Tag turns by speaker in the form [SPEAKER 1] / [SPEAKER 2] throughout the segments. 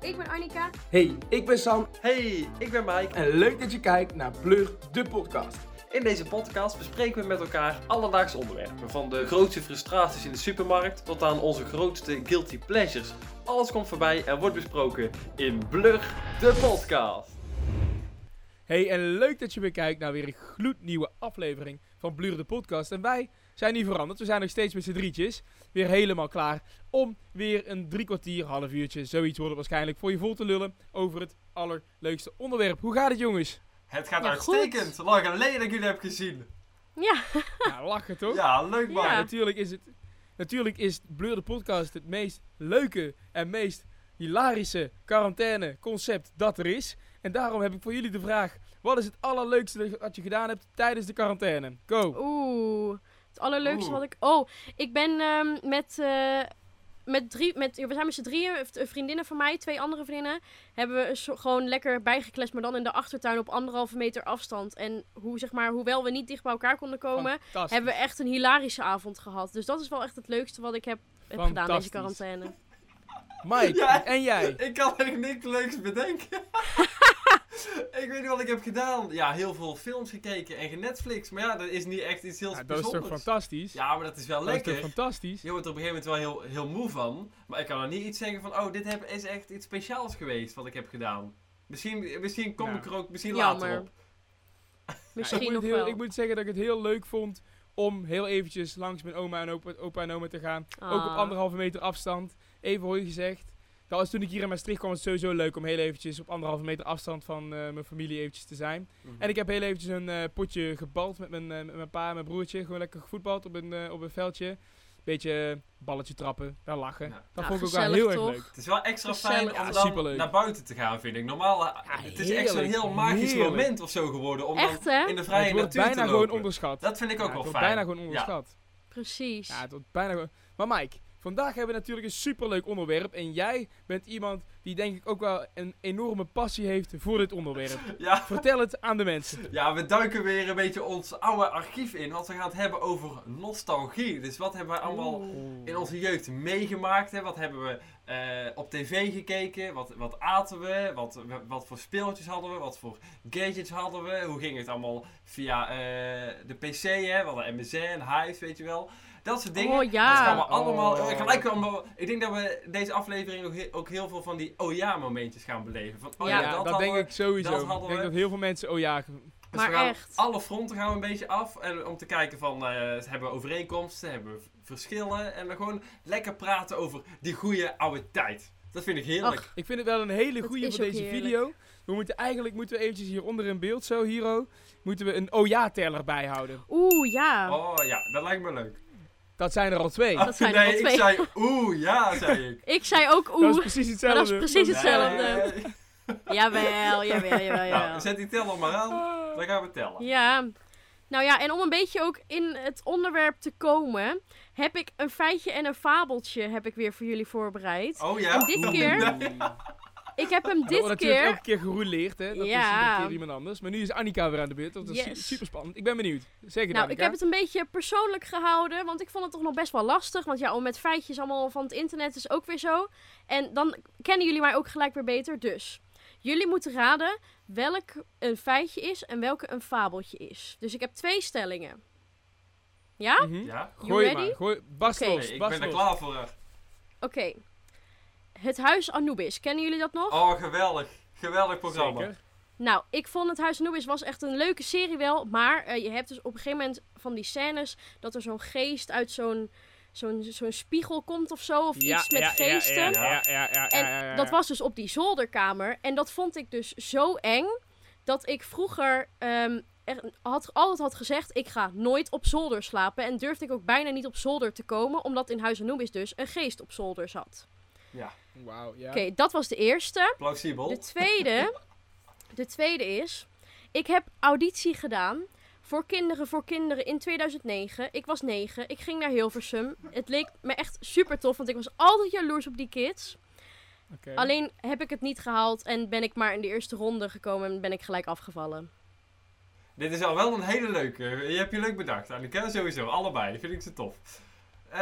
[SPEAKER 1] Ik ben Annika.
[SPEAKER 2] Hey, ik ben Sam
[SPEAKER 3] Hey, ik ben Mike.
[SPEAKER 2] en leuk dat je kijkt naar Plug, de podcast.
[SPEAKER 3] In deze podcast bespreken we met elkaar alledaagse onderwerpen. Van de grootste frustraties in de supermarkt tot aan onze grootste guilty pleasures. Alles komt voorbij en wordt besproken in Blur, de podcast.
[SPEAKER 2] Hey, en leuk dat je weer kijkt naar weer een gloednieuwe aflevering van Bluur de Podcast. En wij zijn niet veranderd, we zijn nog steeds met z'n drietjes weer helemaal klaar om weer een drie kwartier, half uurtje, zoiets wordt het waarschijnlijk, voor je vol te lullen over het allerleukste onderwerp. Hoe gaat het jongens?
[SPEAKER 4] Het gaat
[SPEAKER 1] Ja,
[SPEAKER 4] uitstekend. Lang geleden dat ik jullie heb gezien.
[SPEAKER 1] Ja,
[SPEAKER 2] Nou, lachen toch?
[SPEAKER 4] Ja, leuk man.
[SPEAKER 2] Maar
[SPEAKER 1] Ja.
[SPEAKER 2] natuurlijk is het. Natuurlijk is Blur de Podcast het meest leuke en meest hilarische quarantaine concept dat er is. En daarom heb ik voor jullie de vraag: wat is het allerleukste dat je gedaan hebt tijdens de quarantaine?
[SPEAKER 1] Oh,
[SPEAKER 2] Go!
[SPEAKER 1] oeh. Het allerleukste
[SPEAKER 4] Oeh.
[SPEAKER 1] wat ik... Oh, ik ben ehm, met... eh, met drie, met, we zijn met z'n drieën, eh, v- vriendinnen van mij, twee andere vriendinnen, hebben we een soort- gewoon lekker bijgeklest, maar dan in de achtertuin op anderhalve meter afstand. En hoe, zeg maar, hoewel we niet dicht bij elkaar konden komen,
[SPEAKER 2] Fantastisch.
[SPEAKER 1] oh, hebben we echt een hilarische avond gehad. Dus dat is wel echt het leukste wat ik heb, heb gedaan deze
[SPEAKER 2] Fantastisch.
[SPEAKER 1] quarantaine.
[SPEAKER 2] Mike,
[SPEAKER 4] Ja.
[SPEAKER 2] en jij?
[SPEAKER 4] Ik kan echt niks leuks bedenken. ik weet niet wat ik heb gedaan. Ja, heel veel films gekeken en genetflix. Maar ja, dat is niet echt iets heel
[SPEAKER 2] Nou, dat is toch
[SPEAKER 4] bijzonders.
[SPEAKER 2] fantastisch?
[SPEAKER 4] ja, maar dat is wel
[SPEAKER 2] dat
[SPEAKER 4] lekker.
[SPEAKER 2] is toch fantastisch?
[SPEAKER 4] Je wordt er op een gegeven moment wel heel, heel moe van. Maar ik kan er niet iets zeggen van, oh, dit heb, is echt iets speciaals geweest wat ik heb gedaan. Misschien, misschien kom
[SPEAKER 2] Ja.
[SPEAKER 4] ik er ook misschien later
[SPEAKER 1] Jammer.
[SPEAKER 4] op.
[SPEAKER 1] Misschien
[SPEAKER 2] ik, moet
[SPEAKER 1] nog
[SPEAKER 2] heel-
[SPEAKER 1] wel.
[SPEAKER 2] ik moet zeggen dat ik het heel leuk vond om heel eventjes langs mijn oma en opa, opa en oma te gaan. Ook op
[SPEAKER 1] Ah.
[SPEAKER 2] anderhalve meter afstand. Even hooi gezegd. Ja, als toen ik hier in Maastricht kwam, was het sowieso leuk om heel eventjes op anderhalve meter afstand van eh, mijn familie eventjes te zijn.
[SPEAKER 4] Mhm.
[SPEAKER 2] En ik heb heel eventjes een eh, potje gebald met mijn, eh, met mijn pa en mijn broertje. Gewoon lekker gevoetbald op een, eh, op een veldje. Beetje eh, balletje trappen, daar lachen.
[SPEAKER 4] Ja.
[SPEAKER 2] Dat
[SPEAKER 1] Ja,
[SPEAKER 2] vond ik ook wel
[SPEAKER 1] gezellig
[SPEAKER 2] heel
[SPEAKER 1] toch?
[SPEAKER 2] erg leuk.
[SPEAKER 4] Het is wel extra
[SPEAKER 1] Gezellig.
[SPEAKER 4] fijn
[SPEAKER 2] Dus Ja,
[SPEAKER 4] om dan
[SPEAKER 2] superleuk.
[SPEAKER 4] naar buiten te gaan, vind ik. Normaal, eh,
[SPEAKER 2] Ja,
[SPEAKER 4] het is echt zo'n
[SPEAKER 2] heerlijk,
[SPEAKER 4] heel magisch
[SPEAKER 2] heerlijk.
[SPEAKER 4] moment of zo geworden. Om dan
[SPEAKER 1] Echt hè?
[SPEAKER 4] in de
[SPEAKER 2] Maar
[SPEAKER 4] vrije
[SPEAKER 2] het wordt
[SPEAKER 4] natuur
[SPEAKER 2] bijna
[SPEAKER 4] te
[SPEAKER 2] gewoon
[SPEAKER 4] lopen.
[SPEAKER 2] onderschat.
[SPEAKER 4] Dat vind ik
[SPEAKER 2] Ja,
[SPEAKER 4] ook
[SPEAKER 2] het
[SPEAKER 4] wel
[SPEAKER 2] wordt
[SPEAKER 4] fijn.
[SPEAKER 2] bijna gewoon onderschat.
[SPEAKER 1] Precies.
[SPEAKER 2] Ja, het wordt bijna gewoon. Maar Mike, vandaag hebben we natuurlijk een superleuk onderwerp. En jij bent iemand die denk ik ook wel een enorme passie heeft voor dit onderwerp.
[SPEAKER 4] Ja.
[SPEAKER 2] Vertel het aan de mensen.
[SPEAKER 4] ja, we duiken weer een beetje ons oude archief in. Want we gaan het hebben over nostalgie. Dus wat hebben wij allemaal
[SPEAKER 1] Oeh.
[SPEAKER 4] in onze jeugd meegemaakt? Hè? Wat hebben we eh, op tv gekeken? Wat, wat aten we? Wat, wat voor speeltjes hadden we? Wat voor gadgets hadden we? Hoe ging het allemaal via eh, de PC? Hè? We hadden MSN, Hive, weet je wel. Dat soort dingen.
[SPEAKER 1] Oh
[SPEAKER 4] Dat
[SPEAKER 1] ja.
[SPEAKER 4] gaan we allemaal
[SPEAKER 2] Oh.
[SPEAKER 4] gelijk allemaal. Ik denk dat we deze aflevering ook, he- ook heel veel van die oh ja momentjes gaan beleven. Van, oh ja,
[SPEAKER 1] Ja,
[SPEAKER 4] dat,
[SPEAKER 2] dat,
[SPEAKER 4] hadden
[SPEAKER 2] denk
[SPEAKER 4] we.
[SPEAKER 2] ik sowieso.
[SPEAKER 4] dat hadden
[SPEAKER 2] ik denk
[SPEAKER 4] we.
[SPEAKER 2] dat heel veel mensen. Oh ja,
[SPEAKER 4] Dus
[SPEAKER 1] Maar
[SPEAKER 4] we gaan
[SPEAKER 1] echt.
[SPEAKER 4] alle fronten gaan we een beetje af. En om te kijken van eh, hebben we overeenkomsten, hebben we v- verschillen. En dan gewoon lekker praten over die goede oude tijd. Dat vind ik heerlijk.
[SPEAKER 2] ik vind het wel een hele
[SPEAKER 1] Dat
[SPEAKER 2] goede
[SPEAKER 1] is
[SPEAKER 2] voor
[SPEAKER 1] ook
[SPEAKER 2] deze
[SPEAKER 1] heerlijk.
[SPEAKER 2] video. We moeten eigenlijk moeten we eventjes hieronder in beeld, zo hiero, moeten we een oh ja teller bijhouden.
[SPEAKER 1] Oeh, ja.
[SPEAKER 4] Oh ja, dat lijkt me leuk. Oh,
[SPEAKER 2] Dat zijn er al twee.
[SPEAKER 1] Dat zijn er
[SPEAKER 4] nee,
[SPEAKER 1] wel
[SPEAKER 4] ik
[SPEAKER 1] twee.
[SPEAKER 4] zei oeh ja, zei ik.
[SPEAKER 1] Ik zei ook
[SPEAKER 2] dat is
[SPEAKER 1] oeh.
[SPEAKER 2] precies
[SPEAKER 1] maar
[SPEAKER 2] hetzelfde.
[SPEAKER 1] Dat is precies hetzelfde.
[SPEAKER 4] Nee.
[SPEAKER 1] Jawel, jawel, jawel,
[SPEAKER 4] Nou,
[SPEAKER 1] jawel.
[SPEAKER 4] zet die teller maar aan.
[SPEAKER 1] Oh.
[SPEAKER 4] Dan gaan we tellen.
[SPEAKER 1] Ja. Nou ja, en om een beetje ook in het onderwerp te komen, heb ik een feitje en een fabeltje heb ik weer voor jullie voorbereid.
[SPEAKER 4] Oh ja.
[SPEAKER 1] En dit keer, ik heb hem
[SPEAKER 2] Oh, Dat
[SPEAKER 1] dit
[SPEAKER 2] wordt natuurlijk
[SPEAKER 1] keer,
[SPEAKER 2] elke keer gerouleerd, hè? Dat is
[SPEAKER 1] Ja.
[SPEAKER 2] iedere keer iemand anders. Maar nu is Annika weer aan de beurt. Dat is
[SPEAKER 1] Yes.
[SPEAKER 2] super spannend. Ik ben benieuwd. Zeg het,
[SPEAKER 1] nou ik
[SPEAKER 2] Annika.
[SPEAKER 1] heb het een beetje persoonlijk gehouden, want ik vond het toch nog best wel lastig. Want ja, om met feitjes allemaal van het internet is ook weer zo. En dan kennen jullie mij ook gelijk weer beter, dus... Jullie moeten raden welk een feitje is en welke een fabeltje is. Dus ik heb twee stellingen. Ja?
[SPEAKER 2] Mhm.
[SPEAKER 4] Ja.
[SPEAKER 1] You
[SPEAKER 2] Gooi
[SPEAKER 1] ready?
[SPEAKER 2] maar. Gooi. Bas
[SPEAKER 1] Oké.
[SPEAKER 2] los,
[SPEAKER 4] Nee, ik
[SPEAKER 2] bas
[SPEAKER 4] ben er
[SPEAKER 2] los.
[SPEAKER 4] klaar voor.
[SPEAKER 1] Oké. Het huis Anubis. Kennen jullie dat nog?
[SPEAKER 4] Oh, geweldig. Geweldig programma.
[SPEAKER 2] Zeker.
[SPEAKER 1] Nou, ik vond het huis Anubis was echt een leuke serie wel. Maar eh, je hebt dus op een gegeven moment van die scènes dat er zo'n geest uit zo'n zo'n zo'n spiegel komt of zo. Of iets met geesten.
[SPEAKER 2] Ja, ja, ja, ja,
[SPEAKER 1] En
[SPEAKER 2] ja, ja, ja.
[SPEAKER 1] dat was dus op die zolderkamer. En dat vond ik dus zo eng. Dat ik vroeger ehm, echt had, altijd had gezegd: ik ga nooit op zolder slapen. En durfde ik ook bijna niet op zolder te komen. Omdat in Huis Anubis dus een geest op zolder zat.
[SPEAKER 2] Wauw, ja.
[SPEAKER 1] Oké, dat was de eerste.
[SPEAKER 4] Plausibel.
[SPEAKER 1] De tweede, de tweede is, ik heb auditie gedaan voor Kinderen voor Kinderen in 2009. Ik was 9, ik ging naar Hilversum. Het leek me echt super tof, want ik was altijd jaloers op die kids.
[SPEAKER 2] Oké.
[SPEAKER 1] Alleen heb ik het niet gehaald en ben ik maar in de eerste ronde gekomen en ben ik gelijk afgevallen.
[SPEAKER 4] Dit is al wel een hele leuke. Je hebt je leuk bedacht, Annika. Sowieso, allebei. Vind ik ze tof. Eh,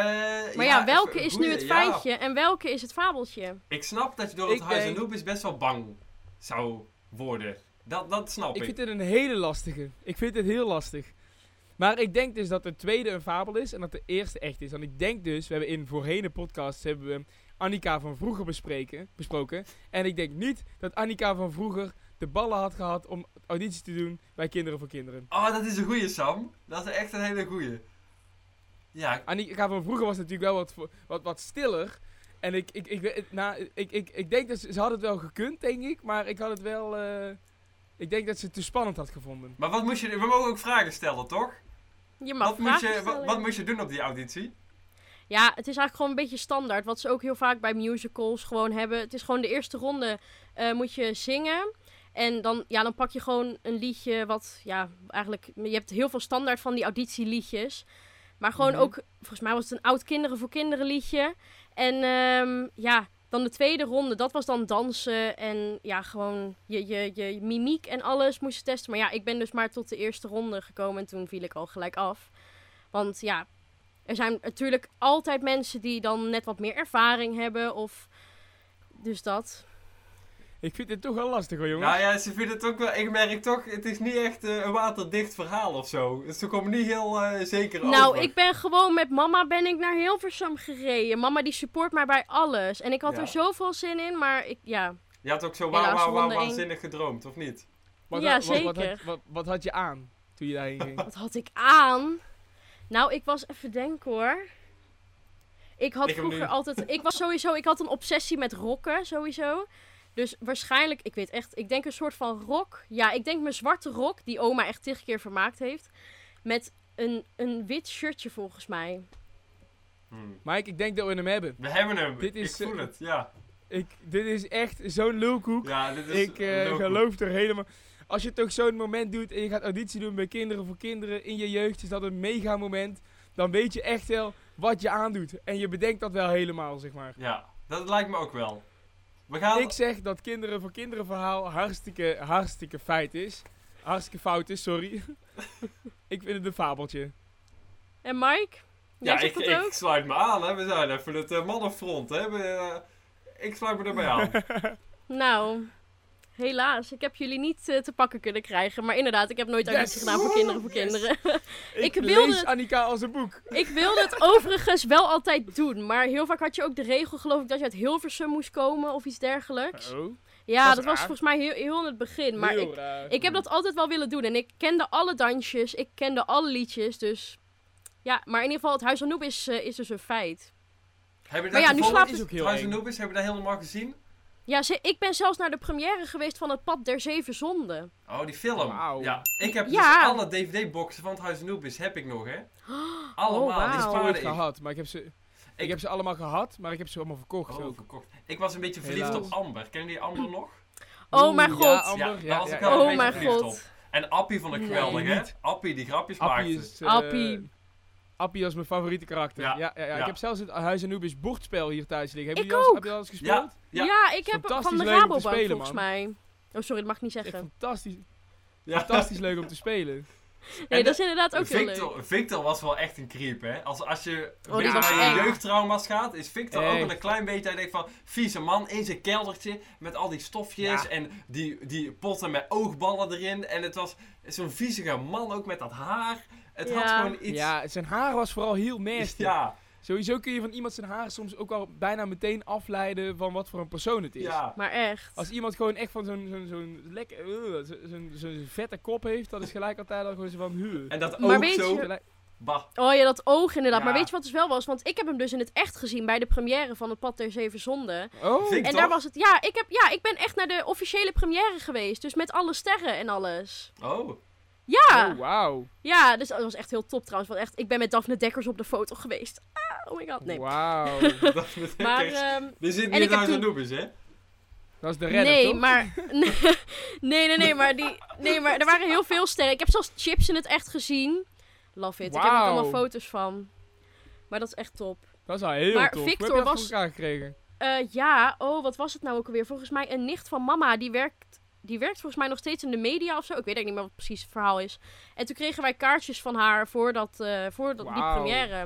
[SPEAKER 1] Maar ja, welke
[SPEAKER 4] even-
[SPEAKER 1] is nu
[SPEAKER 4] goeie,
[SPEAKER 1] het
[SPEAKER 4] ja.
[SPEAKER 1] feitje en welke is het fabeltje?
[SPEAKER 4] Ik snap dat je door het
[SPEAKER 2] Ik
[SPEAKER 4] huis
[SPEAKER 2] denk-
[SPEAKER 4] Anubis best wel bang zou worden. Dat, dat snap ik.
[SPEAKER 2] Ik vind dit een hele lastige. Ik vind dit heel lastig. Maar ik denk dus dat de tweede een fabel is en dat de eerste echt is. Want ik denk dus, we hebben in voorheen podcasts hebben we Annika van vroeger bespreken, besproken. En ik denk niet dat Annika van vroeger de ballen had gehad om audities te doen bij Kinderen voor Kinderen.
[SPEAKER 4] Oh, dat is een goeie, Sam. Dat is echt een hele goeie. Ja,
[SPEAKER 2] Annika van vroeger was natuurlijk wel wat, vo- wat, wat stiller. En ik, ik, ik, weet- nou, ik, ik, ik denk dat ze, ze had het wel gekund, denk ik. Maar ik had het wel... eh, ik denk dat ze het te spannend had gevonden.
[SPEAKER 4] maar wat moest je... We mogen ook vragen stellen, toch?
[SPEAKER 1] Je mag
[SPEAKER 4] Wat moest
[SPEAKER 1] vragen
[SPEAKER 4] je, wat,
[SPEAKER 1] stellen.
[SPEAKER 4] wat moest je doen op die auditie?
[SPEAKER 1] Ja, het is eigenlijk gewoon een beetje standaard. Wat ze ook heel vaak bij musicals gewoon hebben. Het is gewoon de eerste ronde eh, moet je zingen. En dan, ja, dan pak je gewoon een liedje wat, ja, eigenlijk... Je hebt heel veel standaard van die auditieliedjes. Maar gewoon
[SPEAKER 2] Mhm.
[SPEAKER 1] ook, volgens mij was het een oud kinderen voor kinderen liedje. En ehm, ja, dan de tweede ronde, dat was dan dansen. En ja, gewoon je, je, je mimiek en alles moest je testen. Maar ja, ik ben dus maar tot de eerste ronde gekomen. En toen viel ik al gelijk af. Want ja, er zijn natuurlijk altijd mensen die dan net wat meer ervaring hebben of... Dus dat.
[SPEAKER 2] Ik vind dit toch wel lastig hoor, jongens.
[SPEAKER 4] Nou ja, ze vinden het ook wel... Ik merk toch, het is niet echt eh, een waterdicht verhaal of zo. Dus ze komen niet heel eh, zeker
[SPEAKER 1] Nou,
[SPEAKER 4] over.
[SPEAKER 1] ik ben gewoon met mama ben ik naar Hilversum gereden. Mama die support mij bij alles. En ik had
[SPEAKER 4] Ja.
[SPEAKER 1] er zoveel zin in, maar ik, ja.
[SPEAKER 4] Je had ook zo
[SPEAKER 1] Helaas,
[SPEAKER 4] wauw, wauw, wauw,
[SPEAKER 1] ronde één.
[SPEAKER 4] waanzinnig gedroomd, of niet?
[SPEAKER 1] Ja,
[SPEAKER 2] had- Wat,
[SPEAKER 1] zeker.
[SPEAKER 2] had, wat, wat had je aan toen je daarheen ging?
[SPEAKER 1] Wat had ik aan? Nou, ik was even denken hoor. Ik had
[SPEAKER 4] Ik heb hem
[SPEAKER 1] vroeger
[SPEAKER 4] nu.
[SPEAKER 1] altijd. Ik was sowieso. Ik had een obsessie met rokken, sowieso. Dus waarschijnlijk, ik weet echt. Ik denk een soort van rok. Ja, ik denk mijn zwarte rok, die oma echt tig keer vermaakt heeft. Met een, een wit shirtje volgens mij.
[SPEAKER 4] Hmm.
[SPEAKER 2] Mike, ik denk dat we hem hebben.
[SPEAKER 4] We hebben hem.
[SPEAKER 2] Dit is,
[SPEAKER 4] ik voel
[SPEAKER 2] eh,
[SPEAKER 4] het, ja.
[SPEAKER 2] Ik, dit is echt zo'n lulkoek.
[SPEAKER 4] Ja, dit is...
[SPEAKER 2] ik eh,
[SPEAKER 4] leuk.
[SPEAKER 2] geloof er helemaal... Als je toch zo'n moment doet en je gaat auditie doen bij Kinderen voor Kinderen in je jeugd, is dat een mega moment. Dan weet je echt wel wat je aandoet. En je bedenkt dat wel helemaal, zeg maar.
[SPEAKER 4] Ja, dat lijkt me ook wel. We gaan...
[SPEAKER 2] Ik zeg dat Kinderen voor Kinderen verhaal hartstikke, hartstikke feit is. Hartstikke fout is, sorry. ik vind het een fabeltje.
[SPEAKER 1] En Mike? Jij
[SPEAKER 4] Ja,
[SPEAKER 1] zegt
[SPEAKER 4] ik,
[SPEAKER 1] dat
[SPEAKER 4] ik
[SPEAKER 1] ook?
[SPEAKER 4] sluit me aan, hè. We zijn even het eh, mannenfront, hè. We, eh, ik sluit me erbij aan.
[SPEAKER 1] Nou, helaas. Ik heb jullie niet eh, te pakken kunnen krijgen. Maar inderdaad, ik heb nooit auditie
[SPEAKER 2] Yes!
[SPEAKER 1] gedaan voor kinderen voor kinderen.
[SPEAKER 2] Ik,
[SPEAKER 1] Ik wilde
[SPEAKER 2] lees
[SPEAKER 1] het-
[SPEAKER 2] Annika als een boek.
[SPEAKER 1] Ik wilde het overigens wel altijd doen. Maar heel vaak had je ook de regel, geloof ik, dat je uit Hilversum moest komen of iets dergelijks.
[SPEAKER 2] Oh,
[SPEAKER 1] Ja,
[SPEAKER 2] was
[SPEAKER 1] dat was
[SPEAKER 2] raar.
[SPEAKER 1] volgens mij heel, heel in het begin. Maar
[SPEAKER 2] heel
[SPEAKER 1] ik,
[SPEAKER 2] raar.
[SPEAKER 1] ik heb dat altijd wel willen doen. En ik kende alle dansjes, ik kende alle liedjes. Dus ja, maar in ieder geval, het Huis Anoub is, eh, is dus een feit.
[SPEAKER 4] Hebben
[SPEAKER 1] Maar ja, nu slaapt
[SPEAKER 2] is
[SPEAKER 1] het.
[SPEAKER 2] ook heel
[SPEAKER 4] Trouwens,
[SPEAKER 2] eng.
[SPEAKER 4] Anubis, hebben we dat helemaal gezien?
[SPEAKER 1] Ja, ze- ik ben zelfs naar de première geweest van Het Pad der Zeven Zonden.
[SPEAKER 4] Oh, die film.
[SPEAKER 2] Wauw.
[SPEAKER 4] Ja, ik heb
[SPEAKER 1] Ja.
[SPEAKER 4] dus alle DVD-boxen van het Huis Anubis heb ik nog, hè. Allemaal,
[SPEAKER 1] Oh, wauw.
[SPEAKER 4] die
[SPEAKER 1] Ik heb
[SPEAKER 2] nooit
[SPEAKER 4] spaarde ik.
[SPEAKER 2] gehad, maar ik heb ze. Ik,
[SPEAKER 4] Ik-
[SPEAKER 2] heb ze allemaal gehad, maar ik heb ze allemaal verkocht.
[SPEAKER 4] Oh,
[SPEAKER 2] ook.
[SPEAKER 4] verkocht. Ik was een beetje verliefd
[SPEAKER 2] Helaas.
[SPEAKER 4] op Amber. Ken je die Amber nog?
[SPEAKER 1] Oh, mijn
[SPEAKER 2] Oeh,
[SPEAKER 1] god.
[SPEAKER 2] Ja,
[SPEAKER 4] Ja,
[SPEAKER 2] Amber, ja,
[SPEAKER 4] daar was
[SPEAKER 2] ja,
[SPEAKER 4] ik
[SPEAKER 2] ja.
[SPEAKER 4] wel
[SPEAKER 1] Oh,
[SPEAKER 4] een
[SPEAKER 1] mijn
[SPEAKER 4] beetje verliefd
[SPEAKER 1] god.
[SPEAKER 4] op. En Appie vond ik
[SPEAKER 1] Nee.
[SPEAKER 4] geweldig, hè.
[SPEAKER 2] Niet.
[SPEAKER 4] Appie, die grapjes maakte.
[SPEAKER 2] Appie is, eh,
[SPEAKER 1] Appie.
[SPEAKER 2] Appie was mijn favoriete karakter.
[SPEAKER 4] Ja,
[SPEAKER 2] Ja, ja, ja,
[SPEAKER 4] ja.
[SPEAKER 2] Ik heb zelfs het Huis Anubis bordspel hier thuis liggen. Heb
[SPEAKER 1] Ik
[SPEAKER 2] je die al eens-
[SPEAKER 1] ook.
[SPEAKER 2] Heb je dat al eens
[SPEAKER 4] Ja,
[SPEAKER 2] gespeeld?
[SPEAKER 1] Ja,
[SPEAKER 4] Ja.
[SPEAKER 1] ik heb van
[SPEAKER 2] Fantastisch
[SPEAKER 1] de
[SPEAKER 2] leuk om te
[SPEAKER 1] Rabobank
[SPEAKER 2] spelen,
[SPEAKER 1] volgens
[SPEAKER 2] man.
[SPEAKER 1] mij. Oh, sorry, dat mag ik niet
[SPEAKER 2] Echt
[SPEAKER 1] zeggen.
[SPEAKER 2] fantastisch,
[SPEAKER 4] ja.
[SPEAKER 2] fantastisch leuk om te spelen.
[SPEAKER 1] Nee,
[SPEAKER 4] En
[SPEAKER 1] dat is inderdaad ook heel leuk.
[SPEAKER 4] Victor, Victor was wel echt een creep, hè? Als, als je een
[SPEAKER 1] Oh, die
[SPEAKER 4] beetje
[SPEAKER 1] was
[SPEAKER 4] naar je
[SPEAKER 1] eng.
[SPEAKER 4] jeugdtrauma's gaat, is Victor ook wel
[SPEAKER 2] Echt.
[SPEAKER 4] een klein beetje. Hij denkt van, vieze man in zijn keldertje met al die stofjes
[SPEAKER 2] Ja.
[SPEAKER 4] en die, die potten met oogballen erin. En het was zo'n viezige man ook met dat haar. Het had
[SPEAKER 1] Ja.
[SPEAKER 4] gewoon iets.
[SPEAKER 2] Ja, zijn haar was vooral heel nasty.
[SPEAKER 4] ja,
[SPEAKER 2] Sowieso kun je van iemand zijn haar soms ook al bijna meteen afleiden van wat voor een persoon het is.
[SPEAKER 4] ja.
[SPEAKER 1] Maar echt.
[SPEAKER 2] Als iemand gewoon echt van zo'n zo'n zo'n lekker, eh, zo'n zo'n vette kop heeft, dat is gelijk altijd al gewoon zo van... huh.
[SPEAKER 4] En dat
[SPEAKER 1] Maar
[SPEAKER 4] oog
[SPEAKER 1] weet
[SPEAKER 4] zo.
[SPEAKER 1] je-
[SPEAKER 2] Gelijk-
[SPEAKER 4] Bah.
[SPEAKER 1] Oh ja, dat oog inderdaad.
[SPEAKER 4] Ja.
[SPEAKER 1] Maar weet je wat dus wel was? Want ik heb hem dus in het echt gezien bij de première van Het Pad der Zeven Zonden.
[SPEAKER 2] Oh,
[SPEAKER 4] Vind Ik
[SPEAKER 1] en
[SPEAKER 4] toch?
[SPEAKER 1] daar was het... Ja ik, heb, ja, ik ben echt naar de officiële première geweest. Dus met alle sterren en alles.
[SPEAKER 4] Oh.
[SPEAKER 1] Ja,
[SPEAKER 2] oh wauw.
[SPEAKER 1] ja dus dat was echt heel top trouwens. Want echt, ik ben met Daphne Dekkers op de foto geweest. Ah, oh my god, nee.
[SPEAKER 2] Wauw.
[SPEAKER 4] Dat betekent-
[SPEAKER 1] Maar, ehm,
[SPEAKER 4] Er zit
[SPEAKER 1] en
[SPEAKER 4] niet
[SPEAKER 1] ik heb
[SPEAKER 4] aan
[SPEAKER 1] toen-
[SPEAKER 4] zijn noemies, nou hè?
[SPEAKER 2] Dat is de redder,
[SPEAKER 1] nee,
[SPEAKER 2] toch?
[SPEAKER 1] maar. Nee, nee, nee, maar, die, nee, maar er waren heel veel sterren. Ik heb zelfs chips in het echt gezien. Love it. Ik heb er
[SPEAKER 2] Wauw.
[SPEAKER 1] allemaal foto's van. Maar dat is echt top.
[SPEAKER 2] Dat is al heel
[SPEAKER 1] Maar
[SPEAKER 2] tof.
[SPEAKER 1] Victor
[SPEAKER 2] Hoe heb je dat
[SPEAKER 1] was-
[SPEAKER 2] voor elkaar gekregen?
[SPEAKER 1] Eh, ja, oh, wat was het nou ook alweer? Volgens mij een nicht van mama die werkt die werkt volgens mij nog steeds in de media of zo. Ik weet eigenlijk niet meer wat precies het verhaal is. En toen kregen wij kaartjes van haar voor, dat, eh, voor dat, die
[SPEAKER 2] Wauw.
[SPEAKER 1] première.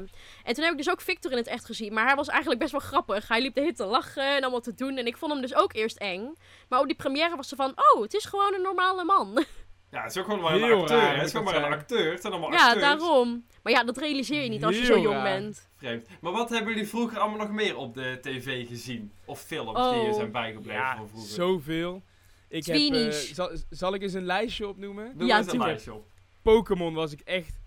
[SPEAKER 1] En toen heb ik dus ook Victor in het echt gezien. Maar hij was eigenlijk best wel grappig. Hij liep de hit te lachen en allemaal te doen. En ik vond hem dus ook eerst eng. Maar op die première was ze van, oh, het is gewoon een normale man.
[SPEAKER 4] Ja, het is ook gewoon maar een
[SPEAKER 2] Heel
[SPEAKER 4] acteur.
[SPEAKER 2] raar,
[SPEAKER 4] hè. Het
[SPEAKER 2] moet
[SPEAKER 4] is gewoon
[SPEAKER 2] dat
[SPEAKER 4] maar een
[SPEAKER 2] zijn.
[SPEAKER 4] acteur. Het zijn allemaal
[SPEAKER 1] ja,
[SPEAKER 4] acteurs.
[SPEAKER 1] daarom. Maar ja, dat realiseer je niet als je
[SPEAKER 2] Oh, Heel
[SPEAKER 1] zo jong
[SPEAKER 2] raar.
[SPEAKER 1] bent.
[SPEAKER 4] Vreemd. Maar wat hebben jullie vroeger allemaal nog meer op de tv gezien? Of films die je
[SPEAKER 1] Oh.
[SPEAKER 4] zijn bijgebleven van vroeger?
[SPEAKER 2] zoveel. Ik heb, eh,
[SPEAKER 1] Tweenies.
[SPEAKER 2] zal, zal ik eens een lijstje opnoemen?
[SPEAKER 4] Doe
[SPEAKER 1] Ja,
[SPEAKER 4] eens een
[SPEAKER 1] tuurlijk.
[SPEAKER 4] lijstje op.
[SPEAKER 2] Pokémon was ik echt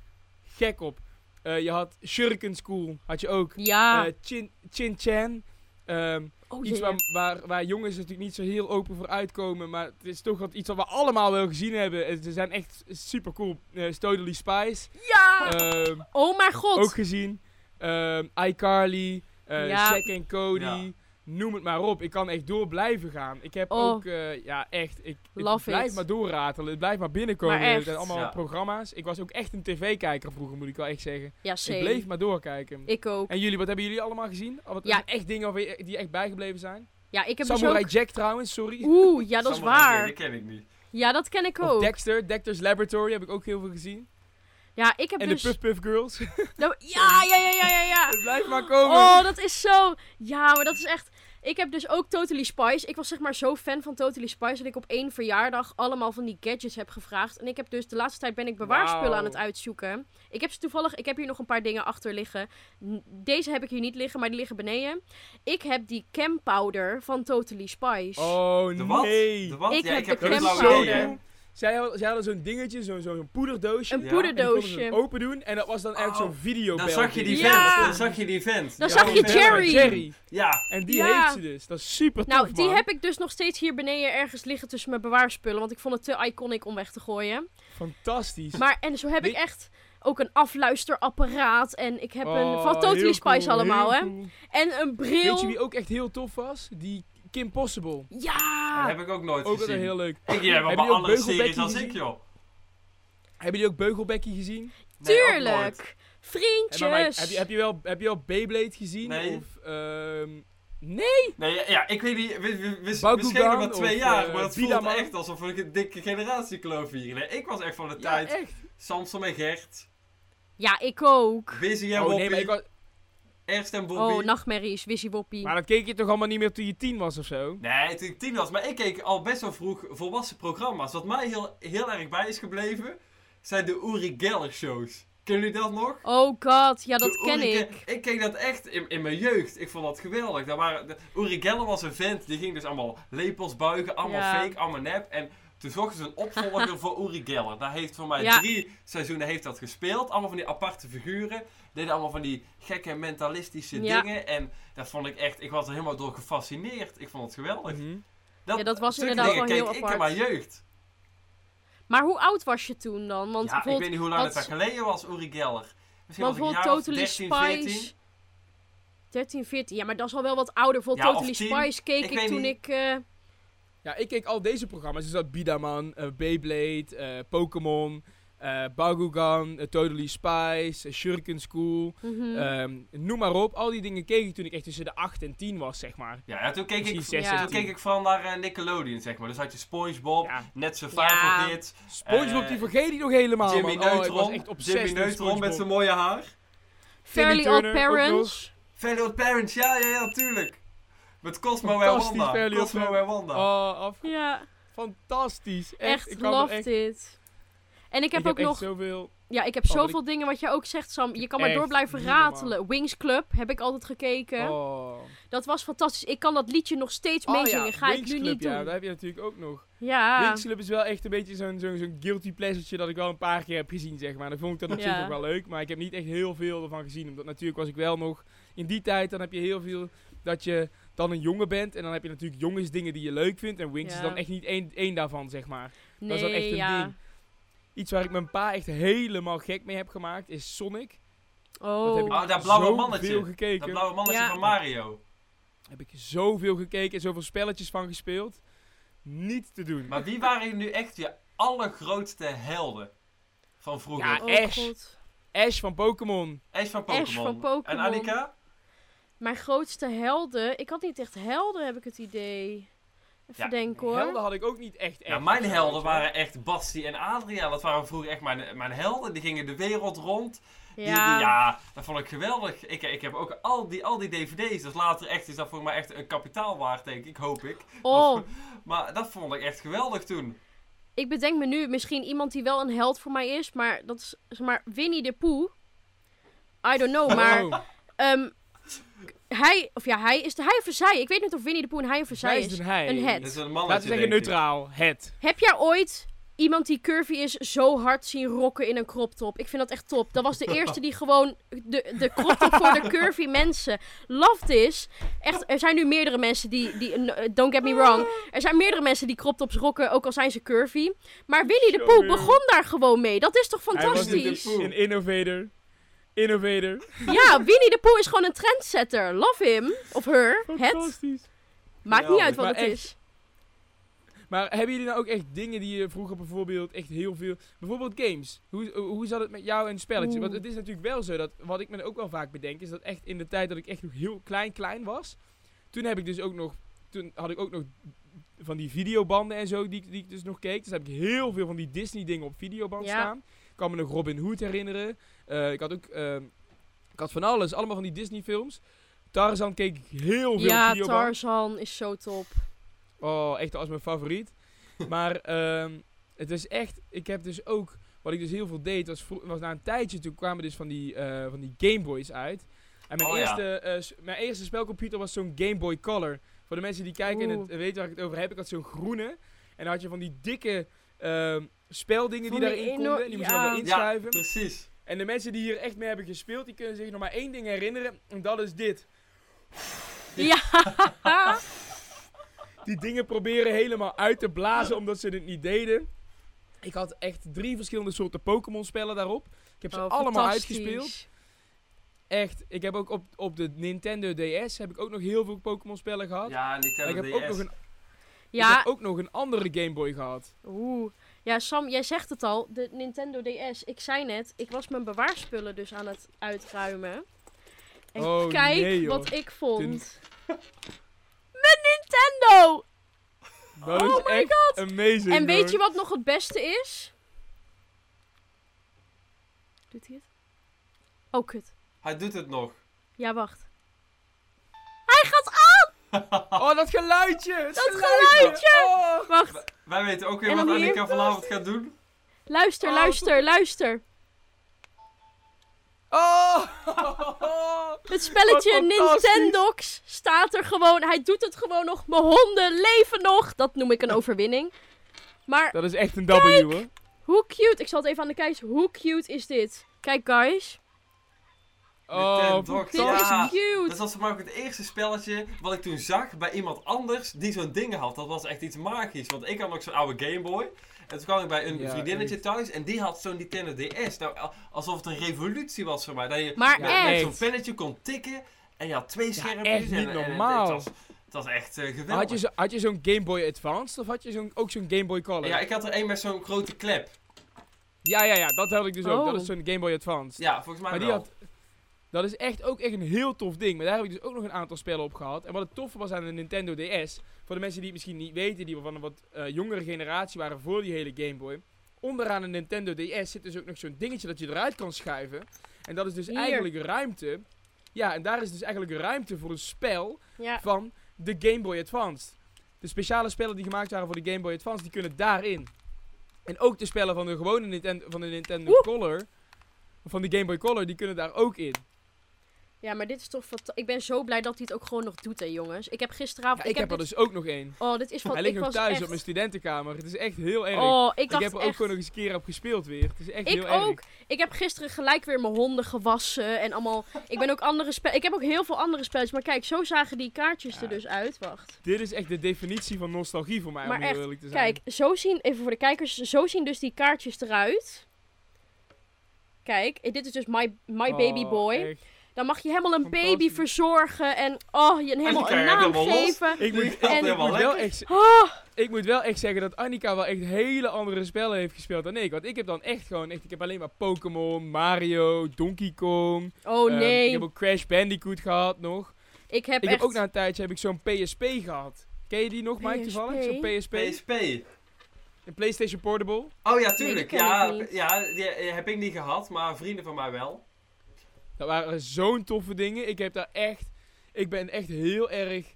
[SPEAKER 2] gek op. Eh, je had Shuriken School, had je ook.
[SPEAKER 1] Ja.
[SPEAKER 2] Eh, Chin, Chin Chan. Ehm,
[SPEAKER 1] oh,
[SPEAKER 2] iets
[SPEAKER 1] jee.
[SPEAKER 2] waar, waar, waar jongens natuurlijk niet zo heel open voor uitkomen. Maar het is toch wat, iets wat we allemaal wel gezien hebben. En ze zijn echt super cool. Eh Stodely Spice.
[SPEAKER 1] Ja!
[SPEAKER 2] ehm,
[SPEAKER 1] oh mijn god.
[SPEAKER 2] ook gezien. Ehm, iCarly. eh
[SPEAKER 1] Ja.
[SPEAKER 2] Zack en Cody.
[SPEAKER 4] Ja.
[SPEAKER 2] Noem het maar op. Ik kan echt door blijven gaan. Ik heb
[SPEAKER 1] Oh.
[SPEAKER 2] ook, eh, ja, echt. Ik, het
[SPEAKER 1] Love
[SPEAKER 2] blijft
[SPEAKER 1] it.
[SPEAKER 2] maar doorratelen. Het blijft maar binnenkomen.
[SPEAKER 1] Maar
[SPEAKER 2] Het
[SPEAKER 1] echt.
[SPEAKER 2] zijn allemaal
[SPEAKER 4] Ja.
[SPEAKER 2] programma's. Ik was ook echt een tv-kijker vroeger, moet ik wel echt zeggen.
[SPEAKER 1] ja,
[SPEAKER 2] Ik
[SPEAKER 1] same.
[SPEAKER 2] bleef maar doorkijken.
[SPEAKER 1] Ik ook.
[SPEAKER 2] En jullie, wat hebben jullie allemaal gezien? Al Wat
[SPEAKER 1] Ja.
[SPEAKER 2] zijn echt dingen waar je- die echt bijgebleven zijn?
[SPEAKER 1] Ja, ik heb dus
[SPEAKER 2] Samurai
[SPEAKER 1] ook...
[SPEAKER 2] Jack trouwens, sorry.
[SPEAKER 1] Oeh, ja, dat is
[SPEAKER 4] Samurai Jack,
[SPEAKER 1] waar.
[SPEAKER 4] Die ken ik niet.
[SPEAKER 1] Ja, dat ken ik
[SPEAKER 2] Of
[SPEAKER 1] ook.
[SPEAKER 2] Dexter, Dexter's Laboratory heb ik ook heel veel gezien.
[SPEAKER 1] Ja, ik heb
[SPEAKER 2] en
[SPEAKER 1] dus...
[SPEAKER 2] de Puff Puff Girls. Het
[SPEAKER 1] Nou, ja, ja, ja, ja, ja, ja.
[SPEAKER 2] Blijf maar komen.
[SPEAKER 1] Oh, dat is zo... Ja, maar dat is echt... Ik heb dus ook Totally Spice. Ik was zeg maar zo fan van Totally Spice... dat ik op één verjaardag allemaal van die gadgets heb gevraagd. En ik heb dus... De laatste tijd ben ik bewaarspullen
[SPEAKER 2] Wauw.
[SPEAKER 1] aan het uitzoeken. Ik heb ze toevallig... Ik heb hier nog een paar dingen achter liggen. N- Deze heb ik hier niet liggen, maar die liggen beneden. Ik heb die cam powder van Totally Spice.
[SPEAKER 2] Oh,
[SPEAKER 4] De wat?
[SPEAKER 2] nee.
[SPEAKER 4] De wat?
[SPEAKER 1] Ik
[SPEAKER 4] ja,
[SPEAKER 1] heb
[SPEAKER 4] ik heb
[SPEAKER 1] de
[SPEAKER 2] dat
[SPEAKER 4] geen
[SPEAKER 2] is
[SPEAKER 1] crème
[SPEAKER 4] flauw
[SPEAKER 2] zo
[SPEAKER 4] idee,
[SPEAKER 1] powder.
[SPEAKER 4] hè.
[SPEAKER 2] cool. Zij hadden, zij hadden zo'n dingetje, zo'n zo'n poederdoosje.
[SPEAKER 1] een
[SPEAKER 4] Ja,
[SPEAKER 2] En die konden ze
[SPEAKER 1] poederdoosje.
[SPEAKER 2] open doen en dat was dan echt
[SPEAKER 4] Oh,
[SPEAKER 2] zo'n video.
[SPEAKER 4] Dan zag je die
[SPEAKER 1] Ja.
[SPEAKER 4] vent. Dan zag je die vent.
[SPEAKER 1] Dan
[SPEAKER 4] Ja,
[SPEAKER 1] zag
[SPEAKER 4] die
[SPEAKER 1] je
[SPEAKER 4] vent.
[SPEAKER 1] Jerry.
[SPEAKER 4] Ja.
[SPEAKER 2] En die
[SPEAKER 1] Ja.
[SPEAKER 2] heeft ze dus. Dat is super tof,
[SPEAKER 1] Nou, die
[SPEAKER 2] man.
[SPEAKER 1] heb ik dus nog steeds hier beneden ergens liggen tussen mijn bewaarspullen. Want ik vond het te iconic om weg te gooien.
[SPEAKER 2] Fantastisch.
[SPEAKER 1] Maar, en zo heb ik
[SPEAKER 2] Weet-
[SPEAKER 1] echt ook een afluisterapparaat. En ik heb een...
[SPEAKER 2] Oh,
[SPEAKER 1] Van Totally
[SPEAKER 2] heel
[SPEAKER 1] Spice
[SPEAKER 2] cool,
[SPEAKER 1] allemaal,
[SPEAKER 2] heel
[SPEAKER 1] hè.
[SPEAKER 2] cool.
[SPEAKER 1] En een bril.
[SPEAKER 2] Weet je wie ook echt heel tof was? Die Kim Possible.
[SPEAKER 1] Ja!
[SPEAKER 4] Dat heb ik ook nooit
[SPEAKER 2] Ook altijd
[SPEAKER 4] gezien.
[SPEAKER 2] heel leuk.
[SPEAKER 4] Ik, jij hebt
[SPEAKER 2] Hebben
[SPEAKER 4] allemaal
[SPEAKER 2] jullie ook
[SPEAKER 4] andere series
[SPEAKER 2] Beugelbekkie
[SPEAKER 4] dan ik,
[SPEAKER 2] gezien?
[SPEAKER 4] joh.
[SPEAKER 2] Hebben jullie ook Beugelbekkie gezien?
[SPEAKER 4] Nee, ook
[SPEAKER 1] Tuurlijk!
[SPEAKER 4] nooit.
[SPEAKER 2] Hey, maar Mike,
[SPEAKER 1] Vriendjes!
[SPEAKER 2] heb, je, heb, je wel, heb je wel Beyblade gezien?
[SPEAKER 4] Nee.
[SPEAKER 2] Of, ehm,
[SPEAKER 4] Nee, ja, ja, ik weet niet, we, we, we,
[SPEAKER 2] Bakugan
[SPEAKER 4] misschien nog maar twee
[SPEAKER 2] of,
[SPEAKER 4] jaar,
[SPEAKER 2] eh,
[SPEAKER 4] maar het voelt
[SPEAKER 2] Bidaman.
[SPEAKER 4] echt alsof ik een dikke generatiekloof hier. Nee, ik was echt van de
[SPEAKER 2] ja,
[SPEAKER 4] tijd
[SPEAKER 2] echt.
[SPEAKER 4] Samson en Gert,
[SPEAKER 1] Ja, ik ook.
[SPEAKER 4] Busy en
[SPEAKER 2] Oh,
[SPEAKER 4] Bobby,
[SPEAKER 2] nee, maar, ik was-
[SPEAKER 4] Ernst en Bobby.
[SPEAKER 1] Oh, nachtmerries, Wizzy Woppie.
[SPEAKER 2] maar dat keek je toch allemaal niet meer toen je tien was of zo?
[SPEAKER 4] Nee, toen ik tien was, maar ik keek al best wel vroeg volwassen programma's. Wat mij heel, heel erg bij is gebleven, zijn de Uri Geller shows. Kennen jullie dat nog?
[SPEAKER 1] Oh god, ja, dat
[SPEAKER 4] De
[SPEAKER 1] ken
[SPEAKER 4] Uri Ge-
[SPEAKER 1] ik.
[SPEAKER 4] Ik keek dat echt in, in mijn jeugd. Ik vond dat geweldig. Dat waren, de, Uri Geller was een vent, die ging dus allemaal lepels buigen, allemaal
[SPEAKER 1] Ja.
[SPEAKER 4] fake, allemaal nep. En toen zochten ze een opvolger voor Uri Geller. Daar heeft voor mij
[SPEAKER 1] Ja.
[SPEAKER 4] drie seizoenen heeft dat gespeeld. Allemaal van die aparte figuren. Deden allemaal van die gekke mentalistische
[SPEAKER 1] Ja.
[SPEAKER 4] dingen. En dat vond ik echt, ik was er helemaal door gefascineerd. Ik vond het geweldig.
[SPEAKER 2] Mhm.
[SPEAKER 1] Ja, dat was
[SPEAKER 4] zulke
[SPEAKER 1] inderdaad
[SPEAKER 4] dingen
[SPEAKER 1] wel heel
[SPEAKER 4] keek ik in
[SPEAKER 1] apart.
[SPEAKER 4] mijn jeugd.
[SPEAKER 1] Maar hoe oud was je toen dan? Want
[SPEAKER 4] ja, ik
[SPEAKER 1] bijvoorbeeld,
[SPEAKER 4] weet niet hoe lang het
[SPEAKER 1] dat-
[SPEAKER 4] daar geleden was, Uri Geller. Misschien
[SPEAKER 1] want
[SPEAKER 4] was ik een
[SPEAKER 1] bijvoorbeeld
[SPEAKER 4] jaar of
[SPEAKER 1] Totally
[SPEAKER 4] 13, 14.
[SPEAKER 1] Spice... 13, 14. Ja, maar dat is al wel wat ouder. Voor
[SPEAKER 4] Ja, of
[SPEAKER 1] Totally
[SPEAKER 4] 10.
[SPEAKER 1] Spice keek
[SPEAKER 4] Ik
[SPEAKER 1] ik,
[SPEAKER 4] weet
[SPEAKER 1] toen
[SPEAKER 4] niet.
[SPEAKER 1] ik... eh,
[SPEAKER 2] Ja, ik keek al deze programma's. Dus dat Bidaman, eh, Beyblade, eh, Pokémon, eh Bakugan, eh, Totally Spice, eh, Shuriken School.
[SPEAKER 1] mhm.
[SPEAKER 2] ehm, noem maar op. Al die dingen keek ik toen ik echt tussen de 8 en 10 was, zeg maar.
[SPEAKER 4] Ja, ja, toen keek
[SPEAKER 2] Misschien
[SPEAKER 4] ik
[SPEAKER 2] 6
[SPEAKER 1] Ja.
[SPEAKER 2] en
[SPEAKER 4] Toen
[SPEAKER 2] 10.
[SPEAKER 4] keek ik vooral naar eh, Nickelodeon, zeg maar. Dus had je SpongeBob,
[SPEAKER 2] Ja.
[SPEAKER 4] Net Survival
[SPEAKER 1] Ja.
[SPEAKER 4] Kids,
[SPEAKER 2] Spongebob,
[SPEAKER 4] Eh,
[SPEAKER 2] die vergeet ik nog helemaal,
[SPEAKER 4] Jimmy
[SPEAKER 2] man. Oh, ik was
[SPEAKER 4] Neutron.
[SPEAKER 2] echt obsessed
[SPEAKER 4] Jimmy
[SPEAKER 2] met
[SPEAKER 4] Neutron met
[SPEAKER 2] SpongeBob.
[SPEAKER 4] zijn mooie haar.
[SPEAKER 1] Fairly Odd
[SPEAKER 2] Turner, ook
[SPEAKER 1] Parents.
[SPEAKER 4] Fairly Odd Parents, ja, ja, ja, tuurlijk. Met Cosmo en
[SPEAKER 2] Fantastisch,
[SPEAKER 4] Wanda.
[SPEAKER 2] Fairly Odd
[SPEAKER 4] Cosmo en
[SPEAKER 2] Parents.
[SPEAKER 4] Wanda.
[SPEAKER 2] Oh, af-
[SPEAKER 1] Ja,
[SPEAKER 2] fantastisch. Echt,
[SPEAKER 1] echt,
[SPEAKER 2] ik kan er
[SPEAKER 1] love
[SPEAKER 2] echt,
[SPEAKER 1] dit. En ik heb ook
[SPEAKER 2] echt
[SPEAKER 1] nog...
[SPEAKER 2] zoveel...
[SPEAKER 1] Ja, ik heb
[SPEAKER 2] Oh, wat
[SPEAKER 1] zoveel dingen wat jij ook zegt, Sam. Je kan maar
[SPEAKER 2] Echt
[SPEAKER 1] door blijven
[SPEAKER 2] niet normaal.
[SPEAKER 1] ratelen. Wings Club heb ik altijd gekeken.
[SPEAKER 2] Oh.
[SPEAKER 1] Dat was fantastisch. Ik kan dat liedje nog steeds meezingen. Ga
[SPEAKER 2] Winx
[SPEAKER 1] ik nu
[SPEAKER 2] Club,
[SPEAKER 1] niet
[SPEAKER 2] Ja,
[SPEAKER 1] doen.
[SPEAKER 2] dat heb je natuurlijk ook nog.
[SPEAKER 1] Ja,
[SPEAKER 2] Winx Club is wel echt een beetje zo'n zo'n zo'n guilty pleasure dat ik wel een paar keer heb gezien, zeg maar. Dan vond ik dat op zich
[SPEAKER 1] Ja.
[SPEAKER 2] nog wel leuk, maar ik heb niet echt heel veel ervan gezien. Omdat natuurlijk was ik wel nog... In die tijd, dan heb je heel veel dat je dan een jongen bent. En dan heb je natuurlijk jongensdingen die je leuk vindt. En Winx
[SPEAKER 1] Ja.
[SPEAKER 2] is dan echt niet één, één daarvan, zeg maar.
[SPEAKER 1] nee,
[SPEAKER 2] dat is wel echt een
[SPEAKER 1] ja.
[SPEAKER 2] ding. Iets waar ik mijn pa echt helemaal gek mee heb gemaakt, is Sonic. Dat heb ik
[SPEAKER 1] Oh,
[SPEAKER 4] Oh, dat blauwe
[SPEAKER 2] zoveel
[SPEAKER 4] mannetje. Dat
[SPEAKER 2] gekeken.
[SPEAKER 4] blauwe mannetje
[SPEAKER 1] Ja.
[SPEAKER 4] van Mario.
[SPEAKER 2] Heb ik zoveel gekeken en zoveel spelletjes van gespeeld. Niet te doen.
[SPEAKER 4] Maar wie waren nu echt je allergrootste helden van vroeger?
[SPEAKER 2] Ja,
[SPEAKER 1] oh
[SPEAKER 2] Ah, Ash.
[SPEAKER 1] god.
[SPEAKER 2] Ash van Pokémon.
[SPEAKER 4] Ash van
[SPEAKER 1] Ash
[SPEAKER 4] Pokémon.
[SPEAKER 1] van Pokémon.
[SPEAKER 4] En Annika?
[SPEAKER 1] Mijn grootste helden. Ik had niet echt helden, heb ik het idee. Even denken hoor.
[SPEAKER 2] Helden had ik ook niet echt echt.
[SPEAKER 4] Nou, mijn helden waren echt Basti en Adriaan. Dat waren vroeger echt mijn, mijn helden. Die gingen de wereld rond. Die- die-
[SPEAKER 1] ja.
[SPEAKER 4] ja, dat vond ik geweldig. Ik, ik heb ook al die, al die dvd's. Dus later echt is dat voor mij echt een kapitaal waard, denk ik. Hoop ik.
[SPEAKER 1] Oh,
[SPEAKER 4] Maar dat vond ik echt geweldig toen.
[SPEAKER 1] ik bedenk me nu misschien iemand die wel een held voor mij is, maar dat is zeg maar Winnie de Pooh. I don't know, maar
[SPEAKER 2] Oh,
[SPEAKER 1] ehm, k- hij, of ja, hij is de hij of zij. Ik weet niet of Winnie de Pooh een hij of een zij
[SPEAKER 2] zij
[SPEAKER 1] is.
[SPEAKER 2] is een hij.
[SPEAKER 1] Een het.
[SPEAKER 4] Dat is Dus een
[SPEAKER 2] Laten we
[SPEAKER 4] mannetje,
[SPEAKER 2] zeggen
[SPEAKER 4] denk ik.
[SPEAKER 2] neutraal. Het.
[SPEAKER 1] Heb jij ooit iemand die curvy is zo hard zien rocken in een crop top? Ik vind dat echt top. Dat was de eerste die gewoon de, de crop top voor de curvy mensen. Love this. Echt, er zijn nu meerdere mensen die, die eh, don't get me wrong. Er zijn meerdere mensen die crop tops rocken, ook al zijn ze curvy. Maar Winnie de Pooh
[SPEAKER 2] Sorry.
[SPEAKER 1] begon daar gewoon mee. Dat is toch
[SPEAKER 2] Hij was
[SPEAKER 1] fantastisch?
[SPEAKER 2] een- Een innovator. Innovator.
[SPEAKER 1] Ja, Winnie de Pooh is gewoon een trendsetter. Love him. Of her. Het.
[SPEAKER 2] Fantastisch.
[SPEAKER 1] Maakt niet uit wat
[SPEAKER 2] Maar
[SPEAKER 1] het
[SPEAKER 2] echt,
[SPEAKER 1] is.
[SPEAKER 2] Maar hebben jullie nou ook echt dingen die je vroeger bijvoorbeeld echt heel veel... Bijvoorbeeld games. Hoe, hoe zat het met jou en spelletjes?
[SPEAKER 1] Oeh.
[SPEAKER 2] Want het is natuurlijk wel zo dat... Wat ik me ook wel vaak bedenk is dat echt in de tijd dat ik echt nog heel klein klein was... Toen heb ik dus ook nog... Toen had ik ook nog van die videobanden en zo die, ik- die ik dus nog keek. Dus heb ik heel veel van die Disney dingen op videoband
[SPEAKER 1] Ja.
[SPEAKER 2] staan. Ik kan me nog Robin Hood herinneren. Eh, ik had ook... ehm, ik had van alles. Allemaal van die Disney films. Tarzan keek ik heel veel op
[SPEAKER 1] Ja,
[SPEAKER 2] videoband.
[SPEAKER 1] Tarzan is zo top.
[SPEAKER 2] Oh, echt als mijn favoriet. maar ehm, het is echt, ik heb dus ook, wat ik dus heel veel deed, was, vro- was na een tijdje, toen kwamen dus van die, eh, van die Game Boys uit. En mijn,
[SPEAKER 4] Oh, ja.
[SPEAKER 2] eerste, eh, s- mijn eerste spelcomputer was zo'n Game Boy Color. Voor de mensen die kijken en het,
[SPEAKER 1] Oeh.
[SPEAKER 2] weten waar ik het over heb, ik had zo'n groene. En dan had je van die dikke ehm, speldingen
[SPEAKER 1] Van
[SPEAKER 2] die
[SPEAKER 1] die
[SPEAKER 2] daarin
[SPEAKER 1] eno-
[SPEAKER 2] konden. En die moest je
[SPEAKER 1] ja.
[SPEAKER 2] dan wel
[SPEAKER 1] Ja.
[SPEAKER 2] inschuiven.
[SPEAKER 4] Precies.
[SPEAKER 2] En de mensen die hier echt mee hebben gespeeld, die kunnen zich nog maar één ding herinneren. En dat is dit.
[SPEAKER 1] Ja.
[SPEAKER 2] die dingen proberen helemaal uit te blazen omdat ze het niet deden. Ik had echt drie verschillende soorten Pokémon spellen daarop. Ik heb ze
[SPEAKER 1] Oh,
[SPEAKER 2] allemaal
[SPEAKER 1] fantastisch.
[SPEAKER 2] uitgespeeld. Echt, ik heb ook op, op de Nintendo DS heb ik ook nog heel veel Pokémon spellen gehad.
[SPEAKER 4] Ja,
[SPEAKER 2] En ik
[SPEAKER 4] Nintendo
[SPEAKER 2] heb,
[SPEAKER 4] DS.
[SPEAKER 2] ook nog een, ik
[SPEAKER 1] Ja,
[SPEAKER 2] heb ook nog een andere Game Boy gehad.
[SPEAKER 1] Oeh. Ja, Sam, jij zegt het al. De Nintendo DS. Ik zei net, ik was mijn bewaarspullen dus aan het uitruimen. En
[SPEAKER 2] Oh,
[SPEAKER 1] kijk
[SPEAKER 2] nee, joh.
[SPEAKER 1] wat ik vond. Mijn Nintendo!
[SPEAKER 2] Dat
[SPEAKER 1] Oh
[SPEAKER 2] is echt amazing.
[SPEAKER 1] En weet je
[SPEAKER 2] hoor.
[SPEAKER 1] wat nog het beste is? Doet hij het? Oh, kut.
[SPEAKER 4] Hij doet het nog.
[SPEAKER 1] Ja, wacht. Hij gaat aan!
[SPEAKER 2] Oh, dat geluidje! Het
[SPEAKER 1] Dat
[SPEAKER 2] geluidje! Oh.
[SPEAKER 1] Wacht,
[SPEAKER 4] Wij weten ook
[SPEAKER 1] En
[SPEAKER 4] weer
[SPEAKER 1] dan
[SPEAKER 4] wat
[SPEAKER 1] hier?
[SPEAKER 4] Annika vanavond gaat doen.
[SPEAKER 1] luister,
[SPEAKER 2] Oh,
[SPEAKER 1] luister, luister.
[SPEAKER 2] Oh.
[SPEAKER 1] Het spelletje
[SPEAKER 2] Wat fantastisch.
[SPEAKER 1] Nintendox staat er gewoon. Hij doet het gewoon nog. Mijn honden leven nog. Dat noem ik een overwinning. Maar
[SPEAKER 2] Dat is echt een W hoor.
[SPEAKER 1] hoe cute. Ik zal het even aan de kijkers. Hoe cute is dit? Kijk, guys.
[SPEAKER 2] Oh,
[SPEAKER 4] Nintendox,
[SPEAKER 1] Dit
[SPEAKER 4] ja.
[SPEAKER 2] fantastisch.
[SPEAKER 1] is
[SPEAKER 4] Dus Dat
[SPEAKER 1] cute.
[SPEAKER 4] was voor mij ook het eerste spelletje wat ik toen zag bij iemand anders die zo'n ding had. Dat was echt iets magisch. Want ik had nog zo'n oude Game Boy. En toen kwam ik bij een
[SPEAKER 2] Ja,
[SPEAKER 4] vriendinnetje
[SPEAKER 2] echt.
[SPEAKER 4] thuis en die had zo'n Nintendo DS. Nou, al- alsof het een revolutie was voor mij. Dat je
[SPEAKER 1] Maar
[SPEAKER 4] met-
[SPEAKER 1] echt.
[SPEAKER 4] met zo'n pennetje kon tikken en je had twee schermpjes.
[SPEAKER 2] echt
[SPEAKER 4] en-
[SPEAKER 2] niet
[SPEAKER 4] en- en-
[SPEAKER 2] normaal.
[SPEAKER 4] het, was, het was echt eh, geweldig.
[SPEAKER 2] Maar Had je, zo, had je zo'n Game Boy Advance of had je zo'n, ook zo'n Game Boy Color?
[SPEAKER 4] Ja, ik had er één met zo'n grote klep.
[SPEAKER 2] ja, ja, ja, dat had ik dus ook. Dat
[SPEAKER 1] Oh.
[SPEAKER 2] is zo'n Game Boy Advance.
[SPEAKER 4] Ja, volgens mij
[SPEAKER 2] maar die
[SPEAKER 4] wel.
[SPEAKER 2] had. Dat is echt ook echt een heel tof ding. Maar daar heb ik dus ook nog een aantal spellen op gehad. En wat het toffe was aan de Nintendo DS. Voor de mensen die het misschien niet weten, die van een wat eh, jongere generatie waren voor die hele Game Boy. Onderaan een Nintendo DS zit dus ook nog zo'n dingetje dat je eruit kan schuiven. En dat is dus
[SPEAKER 1] Hier.
[SPEAKER 2] eigenlijk ruimte. Ja, en daar is dus eigenlijk ruimte voor een spel
[SPEAKER 1] Ja.
[SPEAKER 2] van de Game Boy Advance. De speciale spellen die gemaakt waren voor de Game Boy Advance, die kunnen daarin. En ook de spellen van de gewone Nintendo, van de Nintendo
[SPEAKER 1] Oeh.
[SPEAKER 2] Color, van de Game Boy Color, die kunnen daar ook in.
[SPEAKER 1] ja, maar dit is toch fantastisch. Ik ben zo blij dat hij het ook gewoon nog doet, hè, jongens. Ik heb gisteravond...
[SPEAKER 2] Ja, ik heb er
[SPEAKER 1] dit-
[SPEAKER 2] dus ook nog één.
[SPEAKER 1] Oh, dit is van...
[SPEAKER 2] Hij
[SPEAKER 1] ik
[SPEAKER 2] ligt nog
[SPEAKER 1] was
[SPEAKER 2] thuis
[SPEAKER 1] echt...
[SPEAKER 2] op mijn studentenkamer. Het is echt heel erg.
[SPEAKER 1] Oh, ik
[SPEAKER 2] ik,
[SPEAKER 1] dacht
[SPEAKER 2] heb er ook
[SPEAKER 1] echt...
[SPEAKER 2] gewoon nog eens een keer op gespeeld weer. Het is echt
[SPEAKER 1] Ik
[SPEAKER 2] heel erg.
[SPEAKER 1] ook. Ik heb gisteren gelijk weer mijn honden gewassen en allemaal... Ik ben ook andere spel... Ik heb ook heel veel andere spelletjes. Maar kijk, zo zagen die kaartjes
[SPEAKER 2] Ja.
[SPEAKER 1] er dus uit. Wacht.
[SPEAKER 2] Dit is echt de definitie van nostalgie voor mij,
[SPEAKER 1] Maar
[SPEAKER 2] om heel
[SPEAKER 1] echt,
[SPEAKER 2] eerlijk te zijn.
[SPEAKER 1] Kijk, zo zien, even voor de kijkers, zo zien dus die kaartjes eruit. Kijk, eh, dit is dus My, my Baby
[SPEAKER 2] Oh,
[SPEAKER 1] Boy.
[SPEAKER 2] echt.
[SPEAKER 1] Dan mag je helemaal een baby
[SPEAKER 2] Fantastisch.
[SPEAKER 1] verzorgen en oh, je helemaal
[SPEAKER 4] krijg
[SPEAKER 1] een
[SPEAKER 4] je
[SPEAKER 1] naam
[SPEAKER 4] helemaal los.
[SPEAKER 1] geven.
[SPEAKER 2] Ik moet,
[SPEAKER 4] Die gaat
[SPEAKER 2] en ik,
[SPEAKER 4] helemaal
[SPEAKER 2] moet wel
[SPEAKER 4] lekker.
[SPEAKER 2] echt, z-
[SPEAKER 1] Oh,
[SPEAKER 2] ik moet wel echt zeggen dat Annika wel echt hele andere spellen heeft gespeeld dan ik. Want ik heb dan echt gewoon, echt, ik heb alleen maar Pokémon, Mario, Donkey Kong.
[SPEAKER 1] oh
[SPEAKER 2] Ehm,
[SPEAKER 1] nee,
[SPEAKER 2] ik heb ook Crash Bandicoot gehad nog.
[SPEAKER 1] ik heb
[SPEAKER 2] Ik
[SPEAKER 1] echt...
[SPEAKER 2] heb ook na een tijdje heb ik zo'n PSP gehad. Ik Ken je die nog, Mike, toevallig? Zo'n PSP?
[SPEAKER 4] PSP.
[SPEAKER 2] Een PlayStation Portable?
[SPEAKER 4] Oh ja, tuurlijk.
[SPEAKER 1] ken
[SPEAKER 4] ja,
[SPEAKER 1] ik niet.
[SPEAKER 4] ja, die eh, heb ik niet gehad, maar vrienden van mij wel.
[SPEAKER 2] Dat waren zo'n toffe dingen. Ik heb daar echt... Ik ben echt heel erg...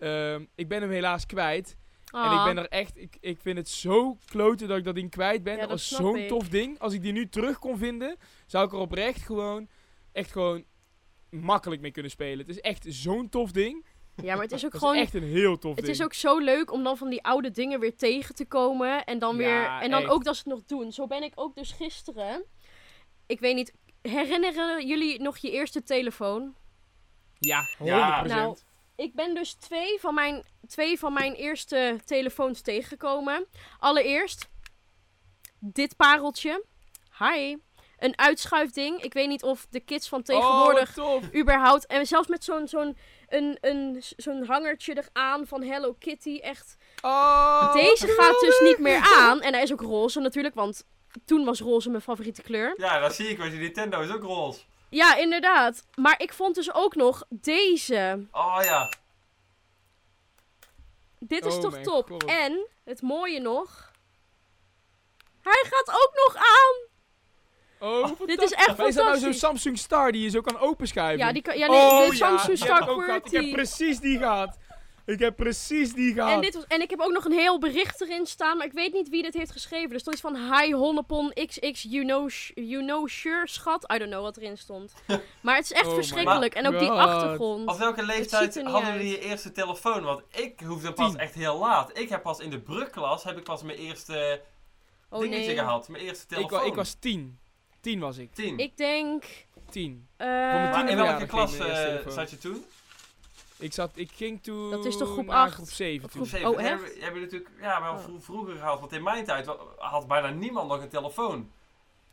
[SPEAKER 2] ehm, ik ben hem helaas kwijt. En
[SPEAKER 1] Ah.
[SPEAKER 2] ik ben er echt... Ik, ik vind het zo kloten dat ik dat ding kwijt ben.
[SPEAKER 1] Ja,
[SPEAKER 2] dat
[SPEAKER 1] dat
[SPEAKER 2] was
[SPEAKER 1] snap
[SPEAKER 2] zo'n
[SPEAKER 1] ik.
[SPEAKER 2] tof ding. Als ik die nu terug kon vinden, zou ik er oprecht gewoon... Echt gewoon makkelijk mee kunnen spelen. Het is echt zo'n tof ding.
[SPEAKER 1] Ja, maar het is ook
[SPEAKER 2] Het
[SPEAKER 1] gewoon...
[SPEAKER 2] is echt een heel tof
[SPEAKER 1] Het
[SPEAKER 2] ding.
[SPEAKER 1] is ook zo leuk om dan van die oude dingen weer tegen te komen. En dan,
[SPEAKER 2] Ja,
[SPEAKER 1] weer, en dan
[SPEAKER 2] echt.
[SPEAKER 1] ook dat ze het nog doen. Zo ben ik ook dus gisteren... Ik weet niet, herinneren jullie nog je eerste telefoon?
[SPEAKER 2] Ja, 100%.
[SPEAKER 4] Ja.
[SPEAKER 1] Nou, ik ben dus twee van mijn, twee van mijn eerste telefoons tegengekomen. Allereerst dit pareltje. Hi. Een uitschuifding. Ik weet niet of de kids van tegenwoordig
[SPEAKER 2] Oh, wat tof.
[SPEAKER 1] überhaupt... En zelfs met zo'n zo'n een, een, zo'n hangertje eraan van Hello Kitty. Echt.
[SPEAKER 2] Oh,
[SPEAKER 1] Deze
[SPEAKER 2] wat
[SPEAKER 1] gaat dus
[SPEAKER 2] geweldig.
[SPEAKER 1] niet meer aan. En hij is ook roze natuurlijk, want toen was roze mijn favoriete kleur.
[SPEAKER 4] Ja, dat zie ik, want je Nintendo is ook roze.
[SPEAKER 1] Ja, inderdaad. Maar ik vond dus ook nog deze.
[SPEAKER 4] Oh ja.
[SPEAKER 1] Dit is
[SPEAKER 2] Oh
[SPEAKER 1] toch
[SPEAKER 2] mijn
[SPEAKER 1] top.
[SPEAKER 2] God.
[SPEAKER 1] En het mooie nog. Hij gaat ook nog aan.
[SPEAKER 2] Oh,
[SPEAKER 1] Dit is echt
[SPEAKER 2] Maar is dat nou zo'n
[SPEAKER 1] fantastisch.
[SPEAKER 2] Samsung Star die je zo kan openschuiven?
[SPEAKER 1] ja, die kan, ja, nee,
[SPEAKER 2] Oh
[SPEAKER 1] de
[SPEAKER 2] ja,
[SPEAKER 1] Samsung
[SPEAKER 2] die
[SPEAKER 1] Star
[SPEAKER 2] heb ik ook gehad. Ik heb
[SPEAKER 1] QWERTY.
[SPEAKER 2] precies die gehad. Ik heb precies die gehad.
[SPEAKER 1] En, dit was, en ik heb ook nog een heel bericht erin staan, maar ik weet niet wie dit heeft geschreven. Er stond iets van Hi Honnepon XX, you know, sh- you know sure, schat. I don't know wat erin stond. maar het is echt
[SPEAKER 2] Oh my
[SPEAKER 1] verschrikkelijk. En ook die
[SPEAKER 2] God.
[SPEAKER 1] achtergrond.
[SPEAKER 4] Op welke
[SPEAKER 1] ziet
[SPEAKER 4] leeftijd
[SPEAKER 1] er niet
[SPEAKER 4] hadden
[SPEAKER 1] uit.
[SPEAKER 4] jullie je eerste telefoon? Want ik hoefde pas
[SPEAKER 2] Tien.
[SPEAKER 4] echt heel laat. Ik heb pas in de brugklas heb ik pas mijn eerste
[SPEAKER 1] Oh
[SPEAKER 4] dingetje
[SPEAKER 1] nee.
[SPEAKER 4] gehad. Mijn eerste
[SPEAKER 2] ik,
[SPEAKER 4] telefoon.
[SPEAKER 2] wa- ik was tien. Tien was ik.
[SPEAKER 4] tien.
[SPEAKER 1] Ik denk...
[SPEAKER 2] Tien.
[SPEAKER 1] eh,
[SPEAKER 2] mijn
[SPEAKER 4] maar in
[SPEAKER 2] tiende
[SPEAKER 4] welke
[SPEAKER 2] jaar
[SPEAKER 4] klas
[SPEAKER 2] kreeg ik mijn eerste
[SPEAKER 4] eh,
[SPEAKER 2] telefoon.
[SPEAKER 4] zat je toen?
[SPEAKER 2] Ik, zat, ik ging toen...
[SPEAKER 1] Dat is toch groep
[SPEAKER 2] naar
[SPEAKER 1] acht?
[SPEAKER 2] groep zeven
[SPEAKER 1] Of
[SPEAKER 2] toen.
[SPEAKER 1] groep-
[SPEAKER 4] Zeven.
[SPEAKER 1] oh,
[SPEAKER 4] Nee,
[SPEAKER 1] echt?
[SPEAKER 4] we- hebben natuurlijk ja, wel
[SPEAKER 1] Oh.
[SPEAKER 4] vro- vroeger gehad. Want in mijn tijd wa- had bijna niemand nog een telefoon.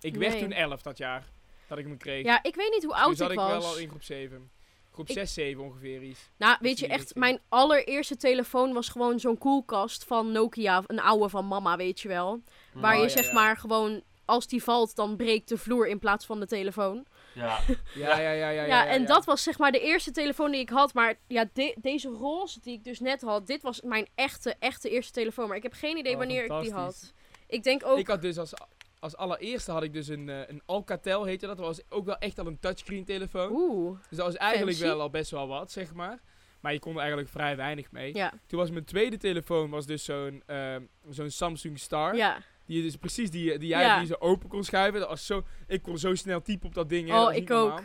[SPEAKER 2] Ik werd
[SPEAKER 1] Nee.
[SPEAKER 2] toen elf dat jaar. Dat ik hem kreeg.
[SPEAKER 1] Ja, ik weet niet hoe
[SPEAKER 2] toen
[SPEAKER 1] oud
[SPEAKER 2] zat
[SPEAKER 1] ik
[SPEAKER 2] ik
[SPEAKER 1] was.
[SPEAKER 2] wel al in groep zeven. Groep
[SPEAKER 1] Ik-
[SPEAKER 2] zes, zeven ongeveer iets.
[SPEAKER 1] Nou,
[SPEAKER 2] Dat
[SPEAKER 1] weet je
[SPEAKER 2] zie je
[SPEAKER 1] echt,
[SPEAKER 2] niet.
[SPEAKER 1] mijn allereerste telefoon was gewoon zo'n koelkast van Nokia, een oude van mama, weet je wel. Waar
[SPEAKER 2] Oh,
[SPEAKER 1] je
[SPEAKER 2] ja,
[SPEAKER 1] zeg
[SPEAKER 2] ja.
[SPEAKER 1] maar gewoon, als die valt, dan breekt de vloer in plaats van de telefoon.
[SPEAKER 4] Ja.
[SPEAKER 2] Ja, ja, ja, ja.
[SPEAKER 1] Ja, en dat was zeg maar de eerste telefoon die ik had. Maar ja, de- deze roze die ik dus net had, dit was mijn echte, echte eerste telefoon. Maar ik heb geen idee
[SPEAKER 2] Oh,
[SPEAKER 1] wanneer ik die
[SPEAKER 2] fantastisch.
[SPEAKER 1] had. Ik denk ook,
[SPEAKER 2] Ik had dus als, als allereerste had ik dus een, eh, een Alcatel, heette dat. Dat was ook wel echt al een touchscreen telefoon.
[SPEAKER 1] oeh,
[SPEAKER 2] Dus dat was eigenlijk
[SPEAKER 1] Fancy.
[SPEAKER 2] wel al best wel wat, zeg maar. Maar je kon er eigenlijk vrij weinig mee.
[SPEAKER 1] ja,
[SPEAKER 2] Toen was mijn tweede telefoon was dus zo'n ehm, zo'n Samsung Star.
[SPEAKER 1] ja.
[SPEAKER 2] Die je dus precies die, die jij
[SPEAKER 1] Ja.
[SPEAKER 2] die je zo open kon schuiven. Dat was zo, ik kon zo snel typen op dat ding. hè,
[SPEAKER 1] Oh,
[SPEAKER 2] dat was
[SPEAKER 1] ik
[SPEAKER 2] niet normaal.
[SPEAKER 1] ook.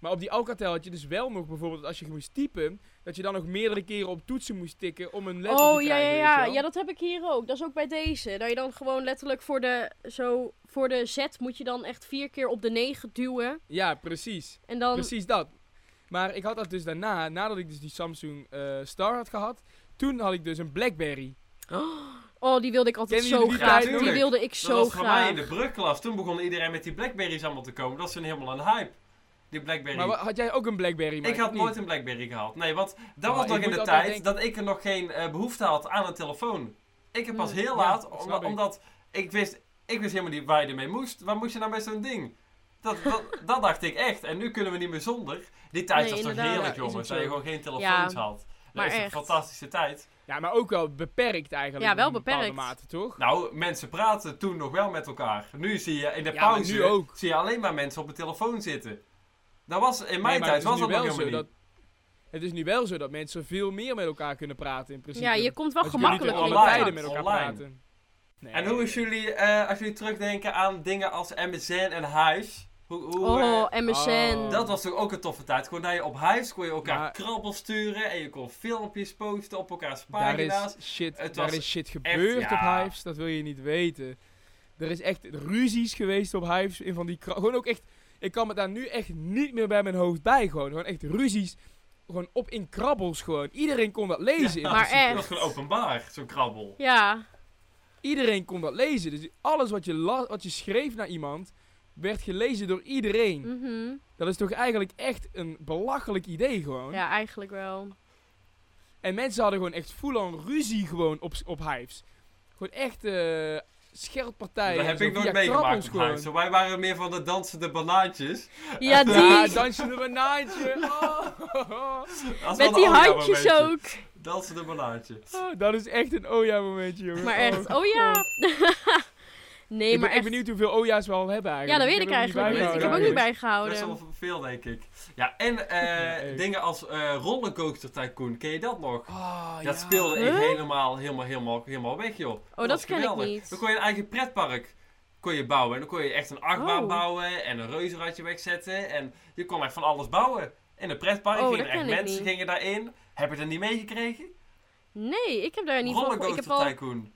[SPEAKER 2] Maar op die Alcatel had je dus wel nog bijvoorbeeld als je moest typen, dat je dan nog meerdere keren op toetsen moest tikken om een letter
[SPEAKER 1] Oh
[SPEAKER 2] te
[SPEAKER 1] ja, ja,
[SPEAKER 2] krijgen. weet
[SPEAKER 1] ja.
[SPEAKER 2] je wel.
[SPEAKER 1] ja, dat heb ik hier ook. Dat is ook bij deze. Dat je dan gewoon letterlijk voor de, zo, voor de Z moet je dan echt vier keer op de 9 duwen.
[SPEAKER 2] ja, precies.
[SPEAKER 1] En dan.
[SPEAKER 2] Precies dat. Maar ik had dat dus daarna, nadat ik dus die Samsung eh, Star had gehad, toen had ik dus een Blackberry.
[SPEAKER 1] Oh, die wilde ik altijd
[SPEAKER 2] Kennen
[SPEAKER 1] zo
[SPEAKER 2] jullie die
[SPEAKER 1] graag.
[SPEAKER 2] tijd?
[SPEAKER 1] Die wilde ik
[SPEAKER 4] dat
[SPEAKER 1] zo
[SPEAKER 4] was voor mij in
[SPEAKER 1] graag.
[SPEAKER 4] de brugklas. Toen begon iedereen met die Blackberries allemaal te komen. Dat is toen helemaal een hype. Die Blackberry.
[SPEAKER 2] Maar wa- had jij ook een Blackberry? Maar
[SPEAKER 4] ik had
[SPEAKER 2] niet.
[SPEAKER 4] nooit een Blackberry gehad. Nee, want dat
[SPEAKER 2] Oh,
[SPEAKER 4] was
[SPEAKER 2] ik
[SPEAKER 4] nog in
[SPEAKER 2] moet
[SPEAKER 4] de
[SPEAKER 2] altijd
[SPEAKER 4] tijd
[SPEAKER 2] denken-
[SPEAKER 4] dat ik er nog geen eh, behoefte had aan een telefoon. Ik heb pas
[SPEAKER 1] Mm,
[SPEAKER 2] ja,
[SPEAKER 4] heel laat,
[SPEAKER 2] dat
[SPEAKER 4] omda-
[SPEAKER 2] snap ik.
[SPEAKER 4] omdat ik wist, ik wist helemaal niet waar je ermee moest. Waar moest je nou met zo'n ding? Dat, dat, dat dacht ik echt. En nu kunnen we niet meer zonder. Die tijd
[SPEAKER 1] Nee,
[SPEAKER 4] was toch
[SPEAKER 1] inderdaad.
[SPEAKER 2] Ja,
[SPEAKER 4] heerlijk,
[SPEAKER 2] is
[SPEAKER 4] jongens.
[SPEAKER 2] ook
[SPEAKER 4] Dat je
[SPEAKER 2] zo.
[SPEAKER 4] gewoon geen telefoons
[SPEAKER 1] Ja,
[SPEAKER 4] had. Dat
[SPEAKER 1] maar
[SPEAKER 4] is een
[SPEAKER 1] echt.
[SPEAKER 4] fantastische tijd.
[SPEAKER 2] Ja, maar ook wel beperkt eigenlijk.
[SPEAKER 1] Ja, wel
[SPEAKER 2] in een bepaalde
[SPEAKER 1] beperkt.
[SPEAKER 2] mate, toch?
[SPEAKER 4] Nou, mensen praten toen nog wel met elkaar. Nu zie je in de
[SPEAKER 2] Ja, maar
[SPEAKER 4] pauze
[SPEAKER 2] nu ook.
[SPEAKER 4] Zie je alleen maar mensen op de telefoon zitten. Dat was in
[SPEAKER 2] Nee,
[SPEAKER 4] mijn
[SPEAKER 2] maar het
[SPEAKER 4] tijd
[SPEAKER 2] is
[SPEAKER 4] was dat
[SPEAKER 2] nu
[SPEAKER 4] nog
[SPEAKER 2] wel
[SPEAKER 4] helemaal
[SPEAKER 2] zo
[SPEAKER 4] niet.
[SPEAKER 2] dat. Het is nu wel zo dat mensen veel meer met elkaar kunnen praten in principe.
[SPEAKER 1] Ja, je komt wel
[SPEAKER 2] Want je kunt niet
[SPEAKER 1] gemakkelijk in
[SPEAKER 4] er
[SPEAKER 2] alle
[SPEAKER 4] online.
[SPEAKER 2] tijden
[SPEAKER 1] contact.
[SPEAKER 2] met elkaar
[SPEAKER 4] Online.
[SPEAKER 2] praten. Nee.
[SPEAKER 4] En hoe is jullie, eh, als jullie terugdenken aan dingen als MSN en Hives? Hoe, hoe,
[SPEAKER 1] Oh,
[SPEAKER 4] eh,
[SPEAKER 1] MSN.
[SPEAKER 2] oh.
[SPEAKER 4] dat was toch ook een toffe tijd. Gewoon dat je op Hives kon je elkaar
[SPEAKER 2] Maar-
[SPEAKER 4] krabbel sturen en je kon filmpjes posten op elkaars
[SPEAKER 2] Daar
[SPEAKER 4] pagina's.
[SPEAKER 2] is shit,
[SPEAKER 4] Het
[SPEAKER 2] daar
[SPEAKER 4] was
[SPEAKER 2] is shit gebeurd
[SPEAKER 4] ja.
[SPEAKER 2] op Hives, dat wil je niet weten. Er is echt ruzies geweest op Hives in van die kra- gewoon ook echt ik kan me daar nu echt niet meer bij mijn hoofd bij gewoon. Gewoon echt ruzies gewoon op in krabbels gewoon. Iedereen kon dat lezen. in
[SPEAKER 4] Ja.
[SPEAKER 1] Maar
[SPEAKER 2] principe.
[SPEAKER 4] Dat was
[SPEAKER 1] echt.
[SPEAKER 4] gewoon openbaar, zo'n krabbel.
[SPEAKER 1] Ja,
[SPEAKER 2] Iedereen kon dat lezen. Dus alles wat je la- wat je schreef naar iemand werd gelezen door iedereen.
[SPEAKER 1] mhm.
[SPEAKER 2] Dat is toch eigenlijk echt een belachelijk idee gewoon.
[SPEAKER 1] ja, eigenlijk wel.
[SPEAKER 2] En mensen hadden gewoon echt full-on ruzie gewoon op, s- op Hives. Gewoon echt eh scheldpartijen.
[SPEAKER 4] dat
[SPEAKER 2] en
[SPEAKER 4] heb
[SPEAKER 2] zo
[SPEAKER 4] ik
[SPEAKER 2] via
[SPEAKER 4] nooit meegemaakt
[SPEAKER 2] krabbels
[SPEAKER 4] op
[SPEAKER 2] gewoon.
[SPEAKER 4] Hives. Wij waren meer van de dansende banaantjes.
[SPEAKER 1] Ja,
[SPEAKER 2] Ja,
[SPEAKER 1] die.
[SPEAKER 2] dansje een banaantje. Oh.
[SPEAKER 4] Dat is wel
[SPEAKER 1] Met
[SPEAKER 4] een
[SPEAKER 1] die
[SPEAKER 4] ander
[SPEAKER 1] handjes
[SPEAKER 4] momentje.
[SPEAKER 1] ook.
[SPEAKER 4] Dat is een banaantje.
[SPEAKER 2] Oh, dat is echt een oja momentje, jongen.
[SPEAKER 1] Maar
[SPEAKER 2] Oh,
[SPEAKER 1] echt, oh ja. nee,
[SPEAKER 2] ik ben
[SPEAKER 1] maar
[SPEAKER 2] echt
[SPEAKER 1] echt.
[SPEAKER 2] benieuwd hoeveel oja's we al hebben
[SPEAKER 1] Ja,
[SPEAKER 2] eigenlijk.
[SPEAKER 1] dat weet ik
[SPEAKER 2] heb hem niet
[SPEAKER 1] eigenlijk niet. Ik heb ook niet
[SPEAKER 2] bijgehouden.
[SPEAKER 4] Best wel
[SPEAKER 1] bijgehouden.
[SPEAKER 4] veel, denk ik. Ja, en eh,
[SPEAKER 2] echt.
[SPEAKER 4] dingen als eh rollercoaster tycoon, ken je dat nog?
[SPEAKER 2] Ah,
[SPEAKER 4] dat
[SPEAKER 2] ja.
[SPEAKER 4] speelde ik
[SPEAKER 1] Huh?
[SPEAKER 4] helemaal, helemaal, helemaal, helemaal weg, joh.
[SPEAKER 1] Oh, dat
[SPEAKER 4] was
[SPEAKER 1] ken ik
[SPEAKER 4] geweldig.
[SPEAKER 1] niet.
[SPEAKER 4] Dan kon je een eigen pretpark kon je bouwen. En dan kon je echt een achtbaan
[SPEAKER 1] Oh.
[SPEAKER 4] bouwen en een reuzenradje wegzetten. En je kon echt van alles bouwen. In een pretpark
[SPEAKER 1] Oh,
[SPEAKER 4] gingen
[SPEAKER 1] dat
[SPEAKER 4] er echt
[SPEAKER 1] ken ik
[SPEAKER 4] mensen
[SPEAKER 1] niet.
[SPEAKER 4] gingen daarin. Heb je dat niet meegekregen?
[SPEAKER 1] Nee, ik heb daar niet van gehoord. Ik heb
[SPEAKER 4] Rollercoaster
[SPEAKER 1] al.
[SPEAKER 4] tycoon.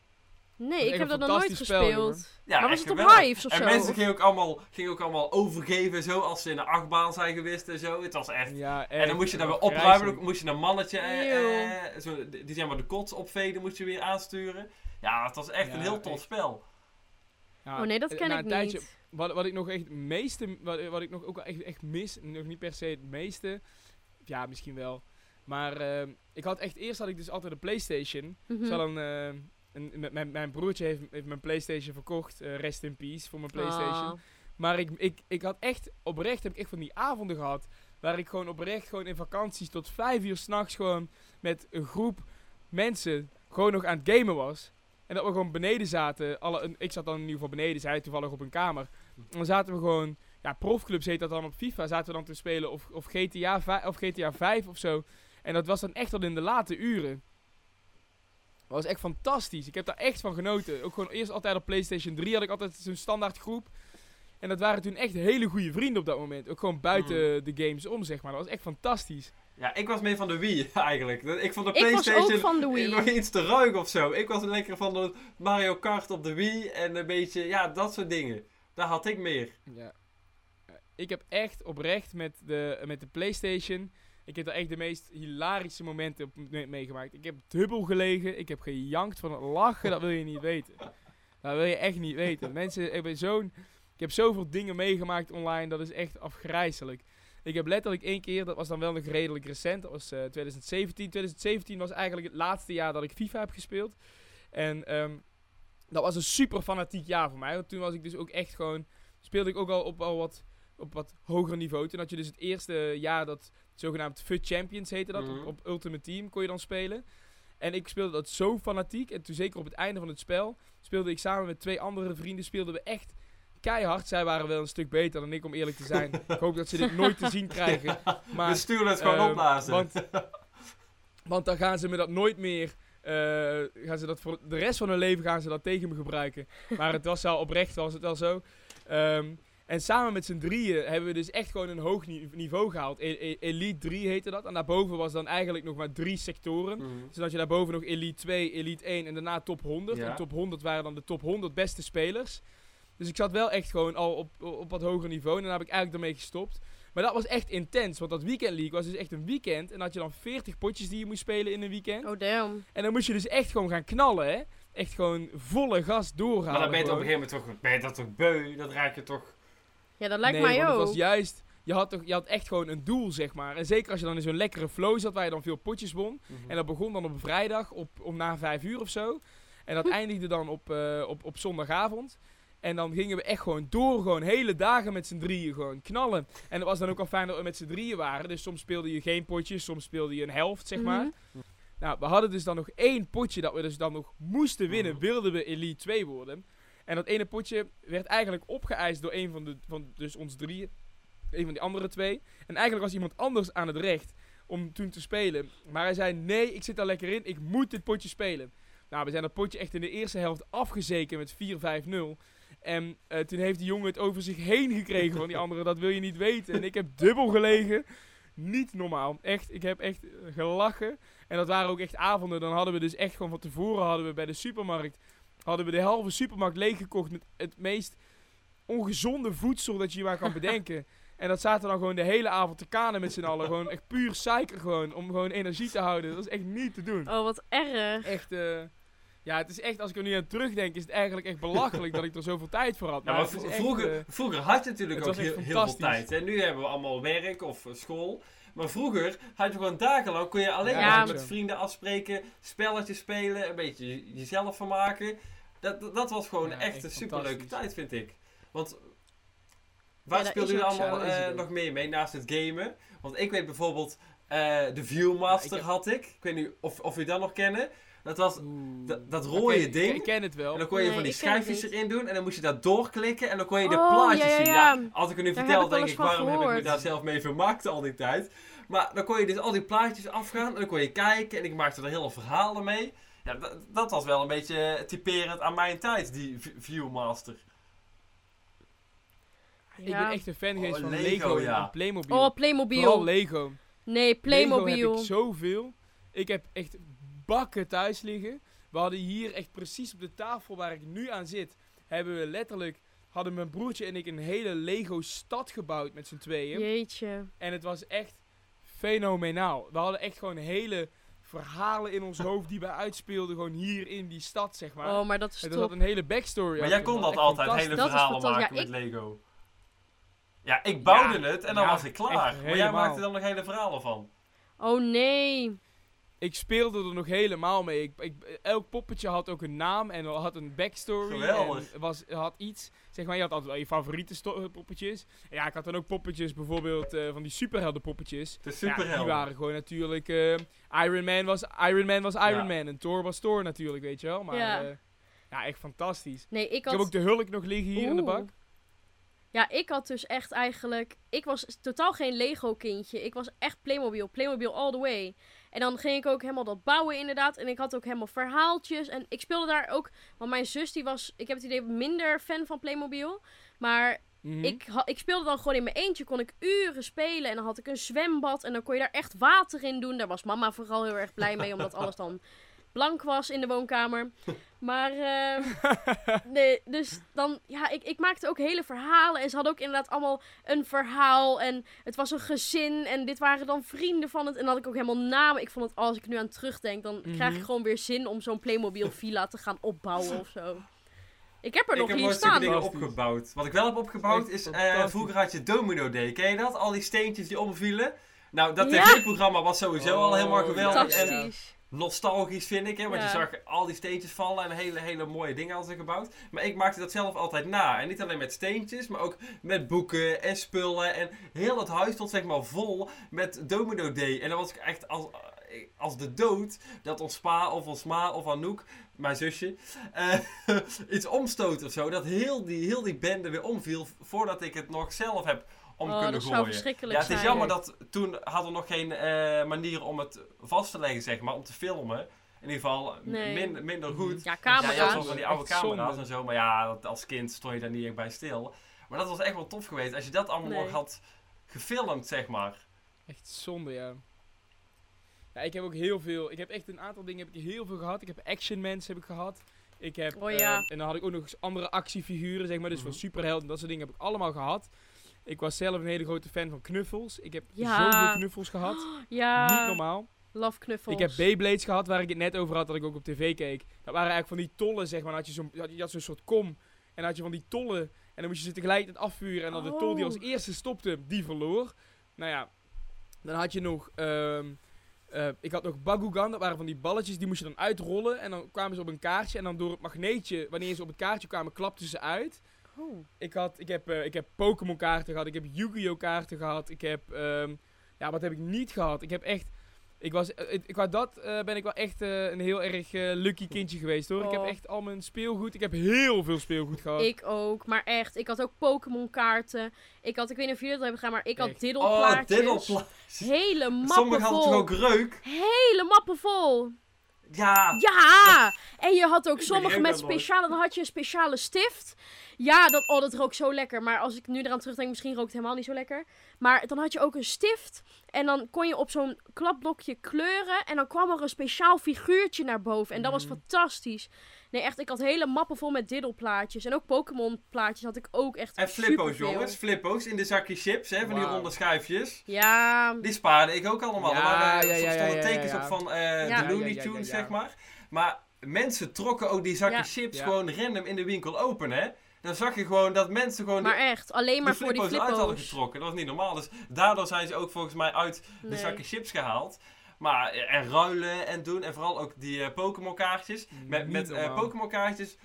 [SPEAKER 1] Nee,
[SPEAKER 2] is
[SPEAKER 1] ik
[SPEAKER 2] echt
[SPEAKER 1] heb
[SPEAKER 2] een
[SPEAKER 1] dat nog nooit
[SPEAKER 2] fantastisch spel, jongen.
[SPEAKER 1] gespeeld.
[SPEAKER 4] Ja,
[SPEAKER 1] Maar was
[SPEAKER 4] echt
[SPEAKER 1] het op
[SPEAKER 4] geweldig.
[SPEAKER 1] Hives of
[SPEAKER 4] En
[SPEAKER 1] zo?
[SPEAKER 4] mensen gingen ook, allemaal, gingen ook allemaal overgeven, zo, als ze in de achtbaan zijn geweest en zo. Het was echt
[SPEAKER 2] Ja, echt.
[SPEAKER 4] En dan moest je daar weer
[SPEAKER 2] Dat was
[SPEAKER 4] opruimen,
[SPEAKER 2] vreselijk.
[SPEAKER 4] dan moest je een mannetje, eh,
[SPEAKER 1] Eeuw.
[SPEAKER 4] eh, zo, die die zeg maar de kots opveden, moest je weer aansturen. Ja, het was echt
[SPEAKER 2] Ja,
[SPEAKER 4] een heel tof
[SPEAKER 2] echt.
[SPEAKER 4] spel.
[SPEAKER 2] Ja,
[SPEAKER 1] Oh nee, dat
[SPEAKER 2] eh,
[SPEAKER 1] ken
[SPEAKER 2] na
[SPEAKER 1] ik
[SPEAKER 2] een tijdje-
[SPEAKER 1] niet.
[SPEAKER 2] Wat, wat ik nog echt het meeste, wat, wat ik nog ook wel echt, echt mis, nog niet per se het meeste, ja misschien wel, maar ehm, ik had echt eerst had ik dus altijd een PlayStation.
[SPEAKER 1] Mhm.
[SPEAKER 2] Dus had een, ehm, een- met mijn, mijn broertje heeft, heeft mijn PlayStation verkocht, eh, rest in peace voor mijn PlayStation.
[SPEAKER 1] Ah.
[SPEAKER 2] Maar ik, ik, ik had echt, oprecht heb ik echt van die avonden gehad. Waar ik gewoon oprecht gewoon in vakanties tot vijf uur s'nachts gewoon met een groep mensen gewoon nog aan het gamen was. En dat we gewoon beneden zaten. Alle, een- ik zat dan in ieder geval beneden, zij toevallig op een kamer. En dan zaten we gewoon, ja, profclubs heet dat dan op FIFA, zaten we dan te spelen of, of, GTA, vi- of GTA 5 of zo. En dat was dan echt al in de late uren. Dat was echt fantastisch. Ik heb daar echt van genoten. Ook gewoon eerst altijd op PlayStation 3 had ik altijd zo'n standaard groep. En dat waren toen echt hele goede vrienden op dat moment. Ook gewoon buiten de games om, zeg maar. Dat was echt fantastisch.
[SPEAKER 4] Ja, ik was meer van de Wii eigenlijk. Dat- Ik vond de
[SPEAKER 1] Ik was ook
[SPEAKER 4] PlayStation eh,
[SPEAKER 1] van de
[SPEAKER 4] nog
[SPEAKER 1] Wii.
[SPEAKER 4] iets te ruik of zo. Ik was lekker van de Mario Kart op de Wii en een beetje, ja, dat soort dingen. Daar had ik meer.
[SPEAKER 2] Ja. Eh, Ik heb echt oprecht met de, met de PlayStation. Ik heb daar echt de meest hilarische momenten op me- meegemaakt. Ik heb dubbel gelegen. Ik heb gejankt van het lachen. Dat wil je niet weten. Dat wil je echt niet weten. Mensen hebben zo'n. Ik heb zoveel dingen meegemaakt online. Dat is echt afgrijzelijk. Ik heb letterlijk één keer, dat was dan wel nog redelijk recent, dat was eh, 2017. 2017 was eigenlijk het laatste jaar dat ik FIFA heb gespeeld. En ehm, dat was een super fanatiek jaar voor mij. Want toen was ik dus ook echt gewoon speelde ik ook al op al wat, op wat hoger niveau. Toen had je dus het eerste jaar dat zogenaamd FUT Champions heette dat.
[SPEAKER 4] Mhm.
[SPEAKER 2] Op, op Ultimate Team kon je dan spelen. En ik speelde dat zo fanatiek. En toen zeker op het einde van het spel speelde ik samen met twee andere vrienden. Speelden we echt keihard. Zij waren wel een stuk beter dan ik om eerlijk te zijn. ik hoop dat ze dit nooit te zien krijgen. Maar
[SPEAKER 4] de stuur het gewoon
[SPEAKER 2] Ehm,
[SPEAKER 4] opblazen.
[SPEAKER 2] Want, want dan gaan ze me dat nooit meer. eh, gaan ze dat voor de rest van hun leven gaan ze dat tegen me gebruiken. Maar het was wel oprecht, was het wel zo. Ehm, en samen met z'n drieën hebben we dus echt gewoon een hoog ni- niveau gehaald. E- e- Elite 3 heette dat. En daarboven was dan eigenlijk nog maar drie sectoren.
[SPEAKER 4] Mhm.
[SPEAKER 2] Dus dan had je daarboven nog Elite 2, Elite 1 en daarna top 100.
[SPEAKER 4] Ja.
[SPEAKER 2] En top 100 waren dan de top 100 beste spelers. Dus ik zat wel echt gewoon al op, op wat hoger niveau. En daar heb ik eigenlijk ermee gestopt. Maar dat was echt intens. Want dat weekend league was dus echt een weekend. En dan had je dan 40 potjes die je moest spelen in een weekend.
[SPEAKER 1] Oh damn.
[SPEAKER 2] En dan moest je dus echt gewoon gaan knallen, hè. Echt gewoon volle gas doorhalen.
[SPEAKER 4] Maar dan ben je het op
[SPEAKER 2] gewoon.
[SPEAKER 4] een gegeven moment toch, ben je dat toch beu? Dat raak je toch...
[SPEAKER 1] Ja, dat lijkt
[SPEAKER 2] nee,
[SPEAKER 1] mij
[SPEAKER 2] want
[SPEAKER 1] ook.
[SPEAKER 2] Het was juist. Je had, toch, je had echt gewoon een doel, zeg maar. En zeker als je dan in zo'n lekkere flow zat, waar je dan veel potjes won.
[SPEAKER 4] Mhm.
[SPEAKER 2] En dat begon dan op een vrijdag op, om na vijf uur of zo. En dat eindigde dan op, eh, op, op zondagavond. En dan gingen we echt gewoon door, gewoon hele dagen met z'n drieën gewoon knallen. En het was dan ook al fijn dat we met z'n drieën waren. Dus soms speelde je geen potjes, soms speelde je een helft, zeg maar.
[SPEAKER 1] Mhm.
[SPEAKER 2] Nou, we hadden dus dan nog één potje dat we dus dan nog moesten winnen,
[SPEAKER 4] Mhm.
[SPEAKER 2] wilden we Elite 2 worden. En dat ene potje werd eigenlijk opgeëist door een van de, van dus ons drieën, een van die andere twee. En eigenlijk was iemand anders aan het recht om toen te spelen. Maar hij zei, nee, ik zit daar lekker in, ik moet dit potje spelen. Nou, we zijn dat potje echt in de eerste helft afgezeken met 4-5-0. En eh, toen heeft die jongen het over zich heen gekregen van die andere. Dat wil je niet weten. En ik heb dubbel gelegen. Niet normaal. Echt, ik heb echt eh, gelachen. En dat waren ook echt avonden. Dan hadden we dus echt gewoon van tevoren hadden we bij de supermarkt... hadden we de halve supermarkt leeggekocht met het meest ongezonde voedsel dat je je maar kan bedenken. En dat zaten we dan gewoon de hele avond te kanen met z'n allen. Gewoon echt puur suiker gewoon. Om gewoon energie te houden. Dat was echt niet te doen
[SPEAKER 1] Oh, wat erg.
[SPEAKER 2] echt. eh, ja, het is echt, als ik er nu aan terugdenk, is het eigenlijk echt belachelijk dat ik er zoveel tijd voor had.
[SPEAKER 4] Ja, maar
[SPEAKER 2] het is
[SPEAKER 4] vro-
[SPEAKER 2] echt,
[SPEAKER 4] vroeger,
[SPEAKER 2] eh,
[SPEAKER 4] vroeger had je natuurlijk
[SPEAKER 2] het
[SPEAKER 4] ook
[SPEAKER 2] was echt
[SPEAKER 4] heel, heel veel
[SPEAKER 2] fantastisch.
[SPEAKER 4] tijd. En nu hebben we allemaal werk of eh, school. Maar vroeger had je gewoon dagenlang, kon je alleen
[SPEAKER 2] Ja,
[SPEAKER 4] maar
[SPEAKER 1] dat
[SPEAKER 4] met
[SPEAKER 2] zo.
[SPEAKER 4] vrienden afspreken, spelletjes spelen, een beetje je- jezelf vermaken. Dat, dat, dat was gewoon
[SPEAKER 2] Ja,
[SPEAKER 4] echt
[SPEAKER 2] echt
[SPEAKER 4] een superleuke
[SPEAKER 2] fantastisch.
[SPEAKER 4] tijd, vind ik. Want waar
[SPEAKER 1] dat
[SPEAKER 4] speelden
[SPEAKER 1] is
[SPEAKER 4] jullie
[SPEAKER 1] ook zo.
[SPEAKER 4] allemaal
[SPEAKER 2] Dat is
[SPEAKER 4] eh,
[SPEAKER 2] het ook.
[SPEAKER 4] nog meer mee naast het gamen? Want ik weet bijvoorbeeld, Eh, de Viewmaster
[SPEAKER 2] Ja, ik heb-
[SPEAKER 4] had ik. Ik weet niet of, of jullie dat nog kennen. Dat was dat- dat rode
[SPEAKER 2] Oké, ik-
[SPEAKER 4] ding.
[SPEAKER 2] Ik ken het wel.
[SPEAKER 4] En dan kon je
[SPEAKER 1] Nee,
[SPEAKER 4] van die
[SPEAKER 1] ik ken het
[SPEAKER 4] schijfjes
[SPEAKER 1] niet.
[SPEAKER 4] erin doen en dan moest je daar doorklikken en dan kon je de
[SPEAKER 1] Oh,
[SPEAKER 4] plaatjes
[SPEAKER 1] ja, ja,
[SPEAKER 4] zien.
[SPEAKER 1] ja.
[SPEAKER 4] Ja, als ik het nu
[SPEAKER 1] Daar
[SPEAKER 4] vertel,
[SPEAKER 1] heb ik wel
[SPEAKER 4] denk
[SPEAKER 1] eens
[SPEAKER 4] ik,
[SPEAKER 1] van
[SPEAKER 4] waarom heb ik
[SPEAKER 1] gehoord.
[SPEAKER 4] me daar zelf mee vermaakt al die tijd? Maar dan kon je dus al die plaatjes afgaan en dan kon je kijken en ik maakte er hele verhalen mee. Ja, dat, dat was wel een beetje eh, typerend aan mijn tijd, die v- Viewmaster.
[SPEAKER 2] Ik ben echt een fan geweest
[SPEAKER 4] Oh,
[SPEAKER 2] van
[SPEAKER 4] Lego,
[SPEAKER 2] Lego,
[SPEAKER 4] ja.
[SPEAKER 2] en Playmobil.
[SPEAKER 1] Oh,
[SPEAKER 2] Vooral
[SPEAKER 1] Playmobil.
[SPEAKER 2] Lego.
[SPEAKER 1] Nee,
[SPEAKER 2] Lego heb
[SPEAKER 1] Playmobil.
[SPEAKER 2] ik zoveel. Ik heb echt bakken thuis liggen. We hadden hier echt precies op de tafel waar ik nu aan zit, hebben we letterlijk, hadden mijn broertje en ik een hele Lego stad gebouwd met z'n tweeën.
[SPEAKER 1] Jeetje.
[SPEAKER 2] En het was echt fenomenaal. We hadden echt gewoon hele verhalen in ons hoofd die wij uitspeelden gewoon hier in die stad, zeg maar.
[SPEAKER 1] Oh, maar dat is
[SPEAKER 2] en er zat
[SPEAKER 1] top.
[SPEAKER 2] een hele backstory
[SPEAKER 4] Maar
[SPEAKER 2] achter.
[SPEAKER 4] jij kon dat
[SPEAKER 2] echt
[SPEAKER 4] altijd,
[SPEAKER 2] fantastisch.
[SPEAKER 4] hele
[SPEAKER 1] Dat is
[SPEAKER 4] verhalen maken
[SPEAKER 1] fantastisch. Ja,
[SPEAKER 4] met Lego. Ja, ik bouwde
[SPEAKER 2] Ja,
[SPEAKER 4] het en dan
[SPEAKER 2] ja,
[SPEAKER 4] was ik
[SPEAKER 2] echt
[SPEAKER 4] klaar. Maar jij
[SPEAKER 2] helemaal.
[SPEAKER 4] maakte dan nog hele verhalen van.
[SPEAKER 1] Oh nee.
[SPEAKER 2] Ik speelde er nog helemaal mee. Ik, ik, elk poppetje had ook een naam en had een backstory.
[SPEAKER 4] Geweldig.
[SPEAKER 2] En was, had iets. Zeg maar, je had altijd wel je favoriete sto- eh, poppetjes. En ja, ik had dan ook poppetjes, bijvoorbeeld eh, van die superhelden poppetjes.
[SPEAKER 4] De
[SPEAKER 2] Ja, die
[SPEAKER 4] superhelden.
[SPEAKER 2] waren gewoon natuurlijk... eh, Iron Man was Iron Man was Iron
[SPEAKER 4] Ja.
[SPEAKER 2] Man. En Thor was Thor natuurlijk, weet je wel. Maar
[SPEAKER 1] Ja.
[SPEAKER 2] ja, ja echt fantastisch.
[SPEAKER 1] Nee, ik
[SPEAKER 2] Ik
[SPEAKER 1] had...
[SPEAKER 2] heb ook de Hulk nog liggen hier in de
[SPEAKER 1] Oeh.
[SPEAKER 2] bak.
[SPEAKER 1] Ja, ik had dus echt eigenlijk... Ik was totaal geen Lego-kindje. Ik was echt Playmobil. Playmobil all the way. En dan ging ik ook helemaal dat bouwen inderdaad. En ik had ook helemaal verhaaltjes. En ik speelde daar ook... Want mijn zus die was... Ik heb het idee minder fan van Playmobil. Maar
[SPEAKER 2] Mhm.
[SPEAKER 1] ik, ha- ik speelde dan gewoon in mijn eentje. Kon ik uren spelen. En dan had ik een zwembad. En dan kon je daar echt water in doen. Daar was mama vooral heel erg blij mee. Omdat alles dan blank was in de woonkamer. Maar, ehm, nee, dus dan, ja, ik, ik maakte ook hele verhalen. En ze hadden ook inderdaad allemaal een verhaal. En het was een gezin. En dit waren dan vrienden van het. En dan had ik ook helemaal namen. Ik vond het, als ik er nu aan terugdenk, dan krijg ik
[SPEAKER 2] Mhm.
[SPEAKER 1] gewoon weer zin om zo'n Playmobil villa te gaan opbouwen of zo. Ik heb er
[SPEAKER 4] ik
[SPEAKER 1] nog
[SPEAKER 4] heb
[SPEAKER 1] hier
[SPEAKER 4] nooit
[SPEAKER 1] staan.
[SPEAKER 4] zulke dingen
[SPEAKER 2] Fantastisch.
[SPEAKER 4] opgebouwd. Wat ik wel heb opgebouwd
[SPEAKER 2] Dat is
[SPEAKER 4] is,
[SPEAKER 2] echt
[SPEAKER 4] eh,
[SPEAKER 2] fantastisch.
[SPEAKER 4] vroeger had je domino day, ken je dat? Al die steentjes die omvielen. Nou, dat
[SPEAKER 1] Ja.
[SPEAKER 4] tv-programma was sowieso al
[SPEAKER 2] Oh,
[SPEAKER 4] helemaal geweldig
[SPEAKER 2] Fantastisch.
[SPEAKER 4] en nostalgisch vind ik, hè, want je
[SPEAKER 1] Ja.
[SPEAKER 4] zag al die steentjes vallen en hele, hele mooie dingen hadden ze gebouwd. Maar ik maakte dat zelf altijd na. En niet alleen met steentjes, maar ook met boeken en spullen. En heel het huis stond zeg maar vol met domino day. En dan was ik echt als, als de dood dat ons pa of ons ma of Anouk, mijn zusje, eh, iets omstoot of zo. Dat heel die, heel die bende weer omviel voordat ik het nog zelf heb om
[SPEAKER 1] oh,
[SPEAKER 4] kunnen
[SPEAKER 1] dat
[SPEAKER 4] gooien.
[SPEAKER 1] zou verschrikkelijk
[SPEAKER 4] Ja, het is
[SPEAKER 1] zijn.
[SPEAKER 4] jammer dat toen hadden we nog geen eh, manier om het vast te leggen, zeg maar, om te filmen. In ieder geval m-
[SPEAKER 1] Nee.
[SPEAKER 4] min- minder goed.
[SPEAKER 1] Ja,
[SPEAKER 4] Ja, je had wel
[SPEAKER 1] camera's.
[SPEAKER 4] van die oude
[SPEAKER 2] Echt zonde.
[SPEAKER 4] camera's en zo, maar ja, dat- als kind stond je daar niet echt bij stil. Maar dat was echt wel tof geweest, als je dat allemaal
[SPEAKER 1] Nee.
[SPEAKER 4] nog had gefilmd, zeg maar.
[SPEAKER 2] Echt zonde, ja. Ja, ik heb ook heel veel. Ik heb echt een aantal dingen heb ik heel veel gehad. Ik heb Action Mans heb ik gehad. Ik heb,
[SPEAKER 1] Oh ja.
[SPEAKER 2] eh, en dan had ik ook nog eens andere actiefiguren, zeg maar. Dus
[SPEAKER 4] Mhm.
[SPEAKER 2] van superhelden en dat soort dingen heb ik allemaal gehad. Ik was zelf een hele grote fan van knuffels. Ik heb
[SPEAKER 1] Ja.
[SPEAKER 2] zoveel knuffels gehad.
[SPEAKER 1] Ja,
[SPEAKER 2] Niet normaal.
[SPEAKER 1] love knuffels.
[SPEAKER 2] Ik heb Beyblades gehad, waar ik het net over had, dat ik ook op tv keek. Dat waren eigenlijk van die tollen, zeg maar. Dan had je zo'n je had- je had zo'n soort kom. En dan had je van die tollen. En dan moest je ze tegelijkertijd afvuren. En dan de tol die als
[SPEAKER 1] Oh.
[SPEAKER 2] eerste stopte, die verloor. Nou ja, dan had je nog... ehm, eh, ik had nog Bakugan, dat waren van die balletjes, die moest je dan uitrollen. En dan kwamen ze op een kaartje. En dan door het magneetje, wanneer ze op het kaartje kwamen, klapten ze uit.
[SPEAKER 1] Oh.
[SPEAKER 2] Ik, had, ik heb, eh, ik heb Pokémon kaarten gehad, ik heb Yu-Gi-Oh kaarten gehad, ik heb... ehm, ja, wat heb ik niet gehad? Ik heb echt... Ik was, eh, eh, qua dat eh, ben ik wel echt eh, een heel erg eh, lucky kindje geweest hoor. Ik heb
[SPEAKER 1] Oh.
[SPEAKER 2] echt al mijn speelgoed, ik heb heel veel speelgoed gehad.
[SPEAKER 1] Ik ook, maar echt. Ik had ook Pokémon kaarten. Ik had, ik weet niet of jullie dat hebben gedaan, maar ik had
[SPEAKER 2] Echt.
[SPEAKER 1] diddelplaatjes.
[SPEAKER 4] diddelplaatjes.
[SPEAKER 1] Hele mappen
[SPEAKER 4] Oh, Sommigen hadden toch
[SPEAKER 1] vol.
[SPEAKER 4] ook reuk?
[SPEAKER 1] Hele mappen vol.
[SPEAKER 4] Ja,
[SPEAKER 1] Ja! En je had ook
[SPEAKER 4] ben
[SPEAKER 1] sommige
[SPEAKER 4] heel
[SPEAKER 1] met
[SPEAKER 4] erg mooi.
[SPEAKER 1] speciale, dan had je een speciale stift. Ja, dat, oh, dat rookt zo lekker. Maar als ik nu eraan terugdenk, misschien rookt het helemaal niet zo lekker. Maar dan had je ook een stift. En dan kon je op zo'n klapblokje kleuren. En dan kwam er een speciaal figuurtje naar boven. En dat was
[SPEAKER 2] Mm.
[SPEAKER 1] fantastisch. Nee, echt, ik had hele mappen vol met diddelplaatjes. En ook Pokémon plaatjes had ik ook echt
[SPEAKER 4] en flippo's
[SPEAKER 1] superveel.
[SPEAKER 4] jongens, flippo's in de zakje chips, hè, van die
[SPEAKER 2] Wauw.
[SPEAKER 4] ronde schuifjes.
[SPEAKER 1] Ja,
[SPEAKER 4] Die spaarde ik ook allemaal.
[SPEAKER 2] Ja,
[SPEAKER 4] er waren,
[SPEAKER 2] ja,
[SPEAKER 4] er
[SPEAKER 2] ja,
[SPEAKER 4] stonden
[SPEAKER 2] ja, ja,
[SPEAKER 4] tekens
[SPEAKER 2] ja.
[SPEAKER 4] op van eh,
[SPEAKER 1] Ja.
[SPEAKER 4] de Looney
[SPEAKER 2] Ja, ja, ja,
[SPEAKER 4] Tunes,
[SPEAKER 2] ja, ja.
[SPEAKER 4] zeg maar. Maar mensen trokken ook die zakken
[SPEAKER 1] Ja.
[SPEAKER 4] chips
[SPEAKER 2] Ja.
[SPEAKER 4] gewoon random in de winkel open, hè. Dan zag je gewoon dat mensen gewoon
[SPEAKER 1] maar
[SPEAKER 4] de,
[SPEAKER 1] echt. Alleen maar voor die
[SPEAKER 4] uit hadden
[SPEAKER 1] flippo's.
[SPEAKER 4] getrokken. Dat was niet normaal. Dus daardoor zijn ze ook volgens mij uit de
[SPEAKER 1] Nee.
[SPEAKER 4] zakken chips gehaald. Maar, eh, en ruilen en doen. En vooral ook die eh, Pokémon kaartjes. Met,
[SPEAKER 2] Niet
[SPEAKER 4] met eh,
[SPEAKER 2] normaal.
[SPEAKER 4] Pokémon kaartjes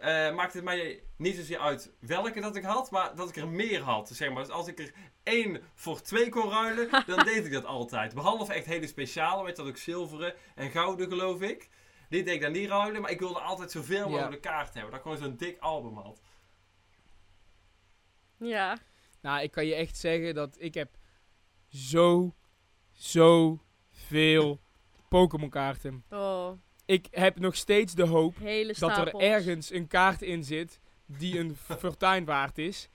[SPEAKER 4] eh, eh, maakt het mij niet zozeer uit welke dat ik had, maar dat ik er meer had. Dus zeg maar, dus als ik er één voor twee kon ruilen, dan deed ik dat altijd. Behalve echt hele speciale, weet je dat ook zilveren en gouden geloof ik. Die deed ik dan niet ruilen, maar ik wilde altijd zoveel
[SPEAKER 2] Ja.
[SPEAKER 4] mogelijk kaarten hebben. Dat ik gewoon zo'n dik album had.
[SPEAKER 1] Ja.
[SPEAKER 2] Nou, ik kan je echt zeggen dat ik heb zo, zo veel Pokémon kaarten.
[SPEAKER 1] Oh,
[SPEAKER 2] Ik heb nog steeds de hoop
[SPEAKER 1] hele
[SPEAKER 2] dat
[SPEAKER 1] stapels.
[SPEAKER 2] er ergens een kaart in zit die een fortuin waard is.